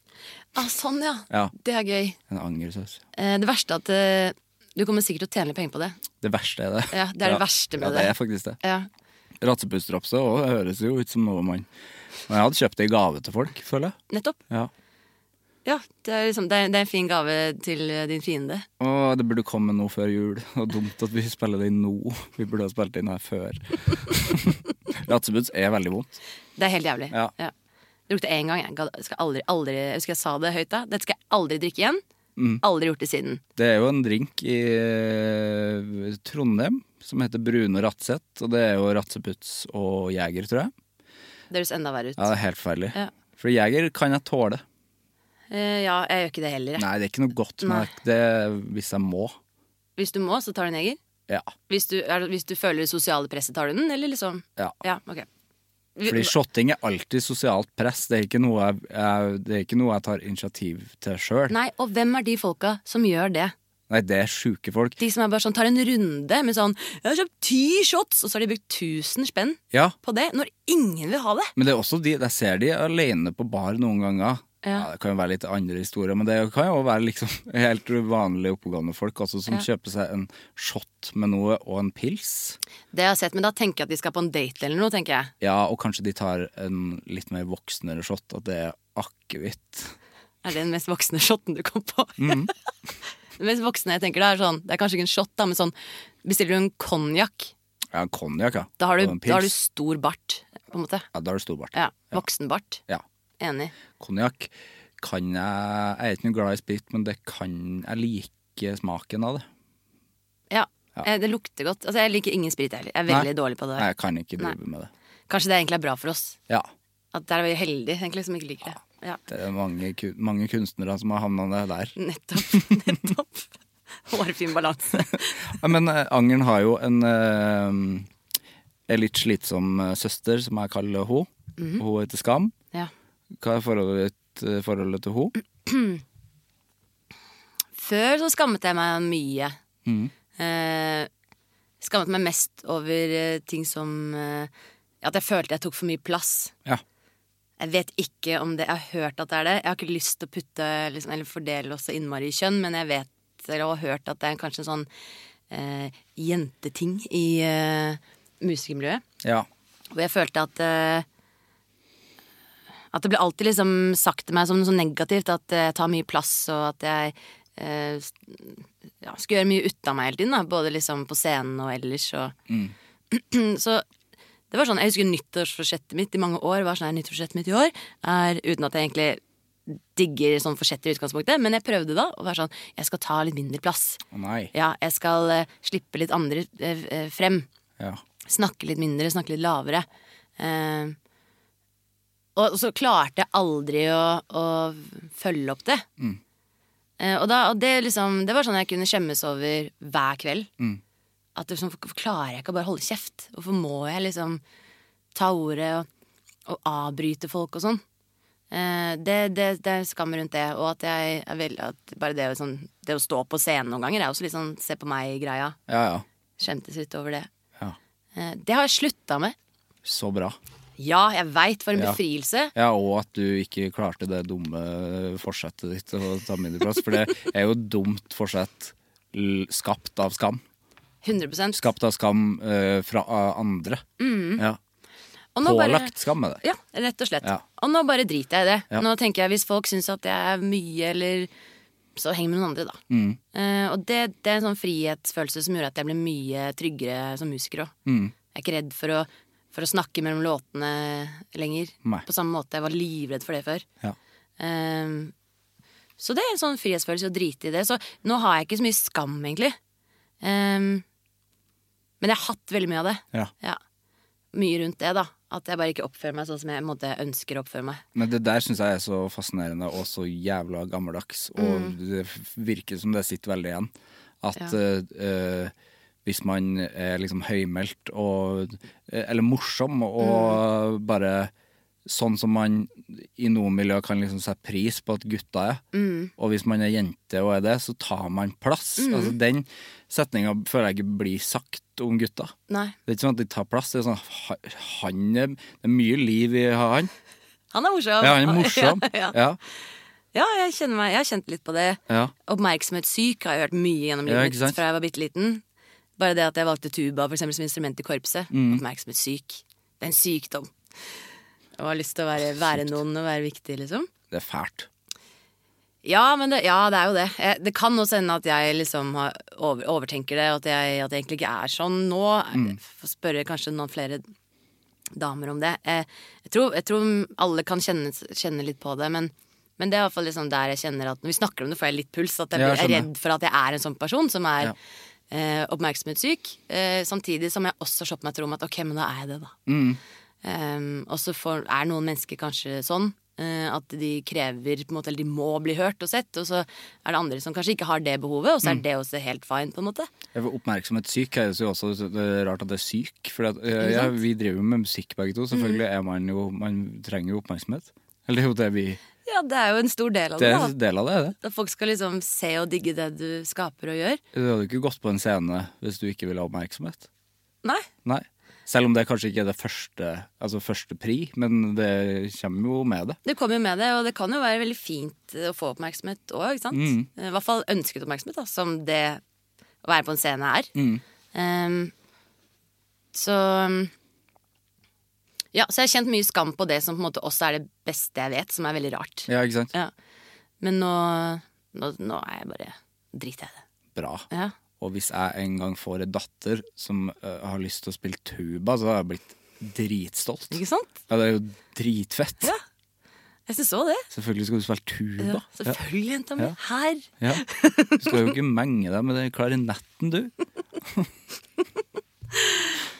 Ah, sånn, ja.
Ja,
Det er gøy.
en angersaus.
Eh, Det verste er at eh, du kommer sikkert til å tjene litt penger på det.
Det verste er det.
Ja, det er det verste med
ja, det. er faktisk det.
Ja.
Ratsepusteropset og det høres jo ut som noe man Men jeg hadde kjøpt det i gave til folk, føler jeg.
Nettopp.
Ja.
Ja, det er, liksom, det, er, det er en fin gave til eh, din fiende.
Og det burde komme nå før jul. Og dumt at vi spiller det inn nå. Vi burde ha spilt det inn her før. Ratseputs er veldig vondt.
Det er helt jævlig.
Ja.
Det lukter én gang. Jeg, ga- skal aldri, aldri, jeg husker jeg sa det høyt da. Dette skal jeg aldri drikke igjen.
Mm.
Aldri gjort det siden.
Det er jo en drink i eh, Trondheim som heter Brune Ratsett. Og det er jo Ratseputs og Jeger, tror jeg.
Det høres enda verre ut.
Ja, det er helt forferdelig.
Ja.
For Jeger kan jeg tåle.
Eh, ja, jeg gjør ikke det heller. jeg.
Nei, det er ikke noe godt,
Nei.
men det er hvis jeg må.
Hvis du må, så tar du en jeger.
Ja.
Hvis du, er, det- hvis du føler det sosiale presset, tar du den, eller liksom?
ja.
Ja, ok. Vi-
Fordi shotting er alltid sosialt press. Det er ikke noe jeg, jeg, det er ikke noe jeg tar initiativ til sjøl. Nei.
Nei, og hvem er de folka som gjør det?
det er sjuke folk.
De som er bare sånn, tar en runde med sånn 'Jeg har kjøpt ti shots!' Og så har de brukt 1000 spenn
Ja,
på det, når ingen vil ha det.
men det er også de, jeg ser de alene på bar noen ganger. Ja. det kan jo være litt andre historier, men det kan jo være liksom helt vanlige oppegående folk også, som kjøper seg en shot med noe og en pils.
Det har jeg sett, men da tenker jeg at de skal på en date eller noe, tenker jeg.
Ja, og kanskje de tar en litt mer voksnere shot, at det er akevitt.
Er det den mest voksne shotten du kom på?
Mhm.
den mest voksne jeg tenker det er sånn, det er kanskje ikke en shot, da, men sånn Bestiller du en konjakk,
Ja, en konjakk, ja.
da, har
Og
du-
en pils.
da har du stor bart, på en måte.
Ja, da har du stor bart.
Ja, Voksenbart.
ja.
Enig.
Konjakk kan jeg Jeg er ikke noe glad i sprit, men det kan jeg liker smaken av det.
Ja. Eh, Det lukter godt. Altså, jeg liker ingen sprit, jeg heller. Jeg er veldig
Nei.
dårlig på det.
Nei, jeg kan ikke drive med det.
Kanskje det egentlig er bra for oss.
Ja.
At der er vi heldige, egentlig, som ikke liker det. Ja.
Det er mange, ku- mange kunstnere som har havna det der.
Nettopp. Nettopp. Hårfin balanse.
Ja, men eh, Angeren har jo en eh, en litt slitsom eh, søster, som jeg kaller henne.
Mhm.
Hun heter Skam.
Ja.
Hva er forholdet, ditt- forholdet til henne?
Mm. Før så skammet jeg meg mye. Eh, skammet meg mest over eh, ting som eh, At jeg følte jeg tok for mye plass.
Ja.
Jeg vet ikke om det Jeg har hørt at det er det. Jeg har ikke lyst til å putte liksom, eller fordele oss så innmari i kjønn, men jeg vet eller har hørt at det er kanskje en sånn eh, jenteting i eh, musikermiljøet.
ja.
Hvor jeg følte at eh, At det ble alltid liksom sagt til meg som noe sånn negativt at jeg tar mye plass, og at jeg eh, s- ja, skulle gjøre mye ut av meg hele tiden. Da, både liksom på scenen og ellers. Og. så det var sånn, jeg husker nyttårsforsettet mitt i mange år var sånn her, nyttårsforsettet mitt i år er uten at jeg egentlig digger sånn forsett i utgangspunktet, men jeg prøvde da å være sånn Jeg skal ta litt mindre plass.
Å nei.
Ja, jeg skal eh, slippe litt andre eh, eh, frem
Ja.
snakke litt mindre, snakke litt lavere. Eh, og så klarte jeg aldri å, å følge opp det. Eh, og, da, og det, liksom, det var sånn jeg kunne skjemmes over hver kveld. At det, liksom, hvorfor klarer jeg ikke å bare holde kjeft? Hvorfor må jeg liksom ta ordet og, og avbryte folk og sånn? Eh, det, det, det er skam rundt det. Og at jeg er vel- at bare det, å sånn, det å stå på scenen noen ganger er også litt sånn se på meg-greia.
Ja, ja.
Skjemtes litt over det.
ja.
Eh, Det har jeg slutta med.
så bra.
Ja, jeg veit, for en
Ja.
befrielse.
Ja, og at du ikke klarte det dumme forsettet ditt å ta mindreplass. For det er jo dumt forsett l- skapt av skam.
100
Skapt av skam eh, fra av andre. Ja.
Og Mm. nå bare-
Pålagt skam er det.
Ja, rett og slett.
Ja.
Og nå bare driter jeg i det.
Ja.
Nå tenker jeg Hvis folk syns at jeg er mye, eller så heng med noen andre, da.
Mm.
Eh, og det, det er en sånn frihetsfølelse som gjorde at jeg ble mye tryggere som musiker òg.
Mm.
Jeg er ikke redd for å, for å snakke mellom låtene lenger.
Nei.
På samme måte. Jeg var livredd for det før.
Ja.
Ehm, så det er en sånn frihetsfølelse å drite i det. Så nå har jeg ikke så mye skam, egentlig. Ehm, men jeg har hatt veldig mye av det.
Ja.
Mye rundt det, da. At jeg bare ikke oppfører meg sånn som jeg på en måte, ønsker å oppføre meg.
Men det der syns jeg er så fascinerende og så jævla gammeldags. Og det virker som det sitter veldig igjen. At eh, eh, hvis man er liksom høymælt og eh, Eller morsom og bare sånn som man i noen miljøer kan liksom sette pris på at gutta er. Og hvis man er jente og er det, så tar man plass. Altså, den setninga føler jeg ikke blir sagt om gutta.
Nei.
Det er ikke sånn at de tar plass. Det er sånn ha- han er, Det er mye liv i han.
Han er morsom.
Ja, han er morsom.
ja, ja.
Ja,
ja jeg kjenner meg Jeg har kjent litt på det.
ja.
Oppmerksomhetssyk har jeg hørt mye gjennom
Ja,
livet
ikke
mitt
sant?
fra jeg var bitte liten. Bare det at jeg valgte tuba for eksempel, som instrument i korpset.
Mm.
Oppmerksomhetssyk. Det er en sykdom. Og har lyst til å være, være noen og være viktig, liksom.
Det er fælt.
Ja, men det, ja, det er jo det. Jeg, det kan også hende at jeg liksom har over, overtenker det, og at jeg, at jeg egentlig ikke er sånn nå.
Mm.
Jeg Får spørre kanskje noen flere damer om det. Jeg, jeg, tror, jeg tror alle kan kjenne, kjenne litt på det, men, men det er iallfall liksom der jeg kjenner at når vi snakker om det, får jeg litt puls. At jeg,
Ja,
blir-
jeg
jeg er
skjønner.
redd for at jeg er en sånn person som er
Ja.
eh, oppmerksomhetssyk. Eh, samtidig som jeg også slår på meg til rom at ok, men da er jeg det, da. Um, og så får- er noen mennesker kanskje sånn eh, at de krever på en måte, eller de må bli hørt og sett. Og så er det andre som kanskje ikke har det behovet, og så er
Mm.
det også helt fine. på en måte
Jeg får Oppmerksomhet syk er jo også det er rart at det er syk. For at, eh, ja,
sant? Mm.
vi driver jo med musikk begge to. Selvfølgelig er man jo Man trenger jo oppmerksomhet. Eller det er jo det vi
Ja, det er jo en stor del av
Det
det.
er en
da
del av det, er det.
At folk skal liksom se og digge det du skaper og gjør.
Du hadde jo ikke gått på en scene hvis du ikke ville ha oppmerksomhet.
Nei.
Nei. Selv om det kanskje ikke er det første Altså første pri, men det kommer jo med det.
Det kommer jo med det, og det kan jo være veldig fint eh, å få oppmerksomhet òg.
Mm.
sant? Eh, I hvert fall ønsket oppmerksomhet, da, som det å være på en scene er.
Mm.
Ehm, så um, Ja, så jeg har kjent mye skam på det som på en måte også er det beste jeg vet, som er veldig rart.
Ja, ikke sant?
Ja. Men nå, nå, nå er jeg bare driter jeg i det.
Bra.
Ja.
Og hvis jeg en gang får en datter som eh, har lyst til å spille tuba, så har jeg blitt dritstolt.
Ikke sant?
Ja, det er jo dritfett.
Ja. Jeg syns òg det.
Selvfølgelig skal du spille tuba.
Ja, selvfølgelig, jenta mi.
Ja.
Her.
Ja. Du skal jo ikke menge deg med den klarinetten, du.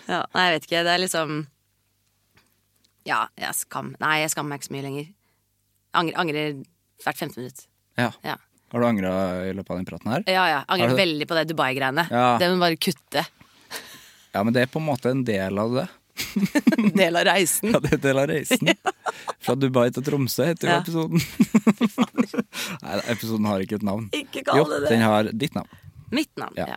Ja, nei, jeg vet ikke. Det er liksom Ja, jeg skam... Nei, jeg skammer meg ikke så mye lenger. Angrer, angrer hvert femte minutt.
Ja.
Ja,
Har du angra i løpet av den praten her?
ja. ja
Er
angrer
det-
veldig på det Dubai-greiene.
Ja.
Det må bare kutte.
Ja, men det er på en måte en del av det.
Del av reisen.
Ja, det er en del av reisen. Fra Dubai til Tromsø heter jo
Ja.
episoden. Nei, episoden har ikke et navn.
Ikke kall
Jo,
det det.
den har ditt navn.
Mitt navn.
Ja.
Ja.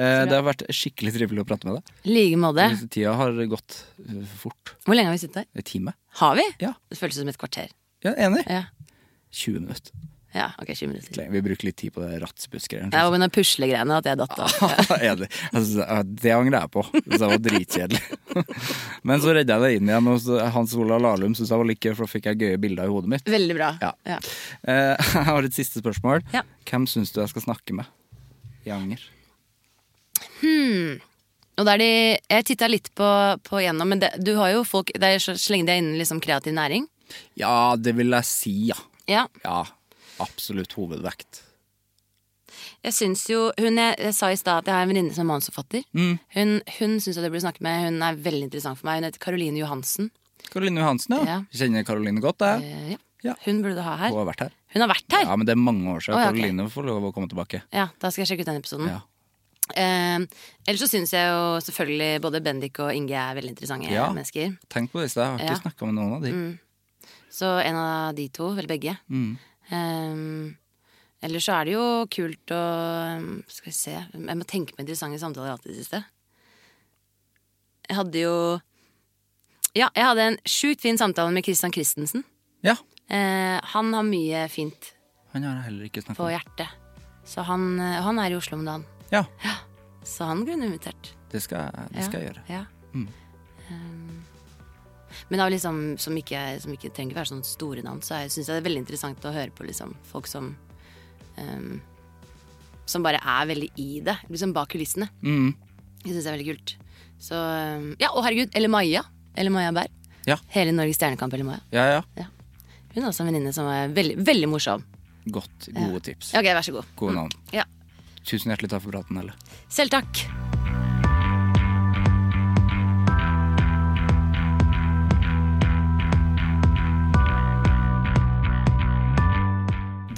Eh, det har vært skikkelig trivelig å prate med deg.
I like måte.
Disse Tida har gått eh, fort.
Hvor lenge har vi sittet her?
En time?
Har vi?
Ja.
Det føles som et kvarter.
Ja, enig.
Ja,
20 minutter.
ja ok, 20 minutter.
Vi bruker litt tid på det rattsbuskgreiene.
Det var med noen puslegreiene at jeg datt av.
Enig. Altså, det angrer jeg på. Så det var dritkjedelig. Men så redda jeg det inn igjen, og så- Hans Olav Lahlum syntes jeg var like gøy, for da fikk jeg gøye bilder i hodet mitt.
Veldig bra.
Ja. Eh, Jeg har et siste spørsmål.
Ja.
Hvem syns du jeg skal snakke med i Anger?
Og det er de, jeg titta litt på, på gjennom, men det, du har jo folk det er så, så lenge det er innen liksom kreativ næring.
Ja, det vil jeg si, ja.
Ja.
Ja, Absolutt hovedvekt.
Jeg syns jo hun jeg, jeg sa i stad at jeg har en venninne som er manusforfatter.
Mm.
Hun, hun syns jeg det burde snakke med. Hun er veldig interessant for meg. Hun heter Caroline Johansen.
Karoline Johansen, ja.
Ja.
Kjenner Karoline godt, jeg.
Eh, ja.
Ja.
Hun burde du ha her.
Hun har vært her.
Hun har vært her!
Ja, Men det er mange år siden.
Å, ja, ok. Mm.
Karoline får lov å komme tilbake.
Ja, da skal jeg sjekke ut den episoden.
Ja.
Eh, ellers så syns jeg jo selvfølgelig både Bendik og Inge er veldig interessante
Ja.
mennesker.
Tenk på det i sted, jeg har ikke
Ja. Mm.
snakket snakka med noen av de.
Så en av de to, vel begge. Um, Eller så er det jo kult å um, Skal vi se Jeg må tenke på interessante samtaler jeg har hatt i det siste. Jeg hadde jo Ja, jeg hadde en sjukt fin samtale med Christian Christensen.
Ja,
Eh, han har mye fint
han har jeg heller ikke snakket
på
om.
hjertet. Så han, eh, han er i Oslo om dagen.
Ja,
Så han kunne invitert.
det skal, jeg- det skal jeg gjøre. Mm.
Ja. Um, men av liksom, som ikke, som ikke trenger ikke være sånne store navn, så syns jeg synes det er veldig interessant å høre på liksom, folk som um, Som bare er veldig i det, liksom bak kulissene.
Mm.
Det syns jeg er veldig kult. Så um, Ja, og herregud, Elle Maja. Elle Maja Berg.
Ja.
Hele Norges Stjernekamp, Elle Maja.
Ja, ja.
Ja. Hun er også en venninne som er veldig, veldig morsom.
Godt. Gode tips.
Ok, vær så god.
Gode navn.
Ja.
Tusen hjertelig takk for praten, Helle.
Selv takk.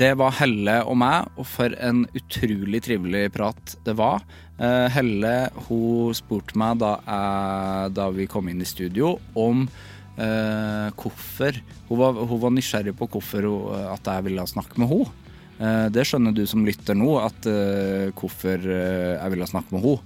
Det var Helle og meg, og for en utrolig trivelig prat det var. Eh, Helle hun spurte meg da, jeg, da vi kom inn i studio, om eh, hvorfor hun var, hun var nysgjerrig på hvorfor hun, eh, at jeg ville snakke med henne. Eh, det skjønner du som lytter nå, at eh, hvorfor eh, jeg ville snakke med henne.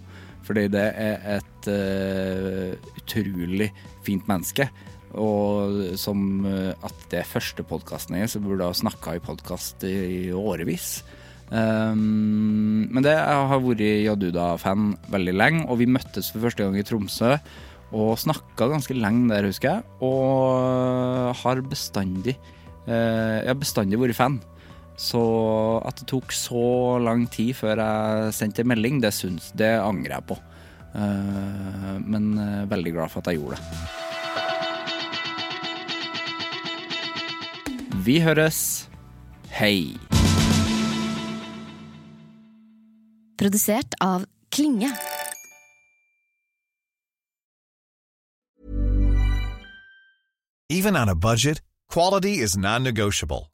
Fordi det er et eh, utrolig fint menneske. Og som eh, at det er første podkasten jeg så burde jeg ha snakka i podkast i, i årevis. Um, men det jeg har vært Jaduda-fan veldig lenge, og vi møttes for første gang i Tromsø. Og snakka ganske lenge der, husker jeg. Og har bestandig eh, Jeg har bestandig vært fan. Så at det tok så lang tid før jeg sendte en melding, det, syns, det angrer jeg på. Eh, men eh, veldig glad for at jeg gjorde det. Vi høres. Hei.
Produsert av Klinge.
Even on a budget, quality is non-negotiable.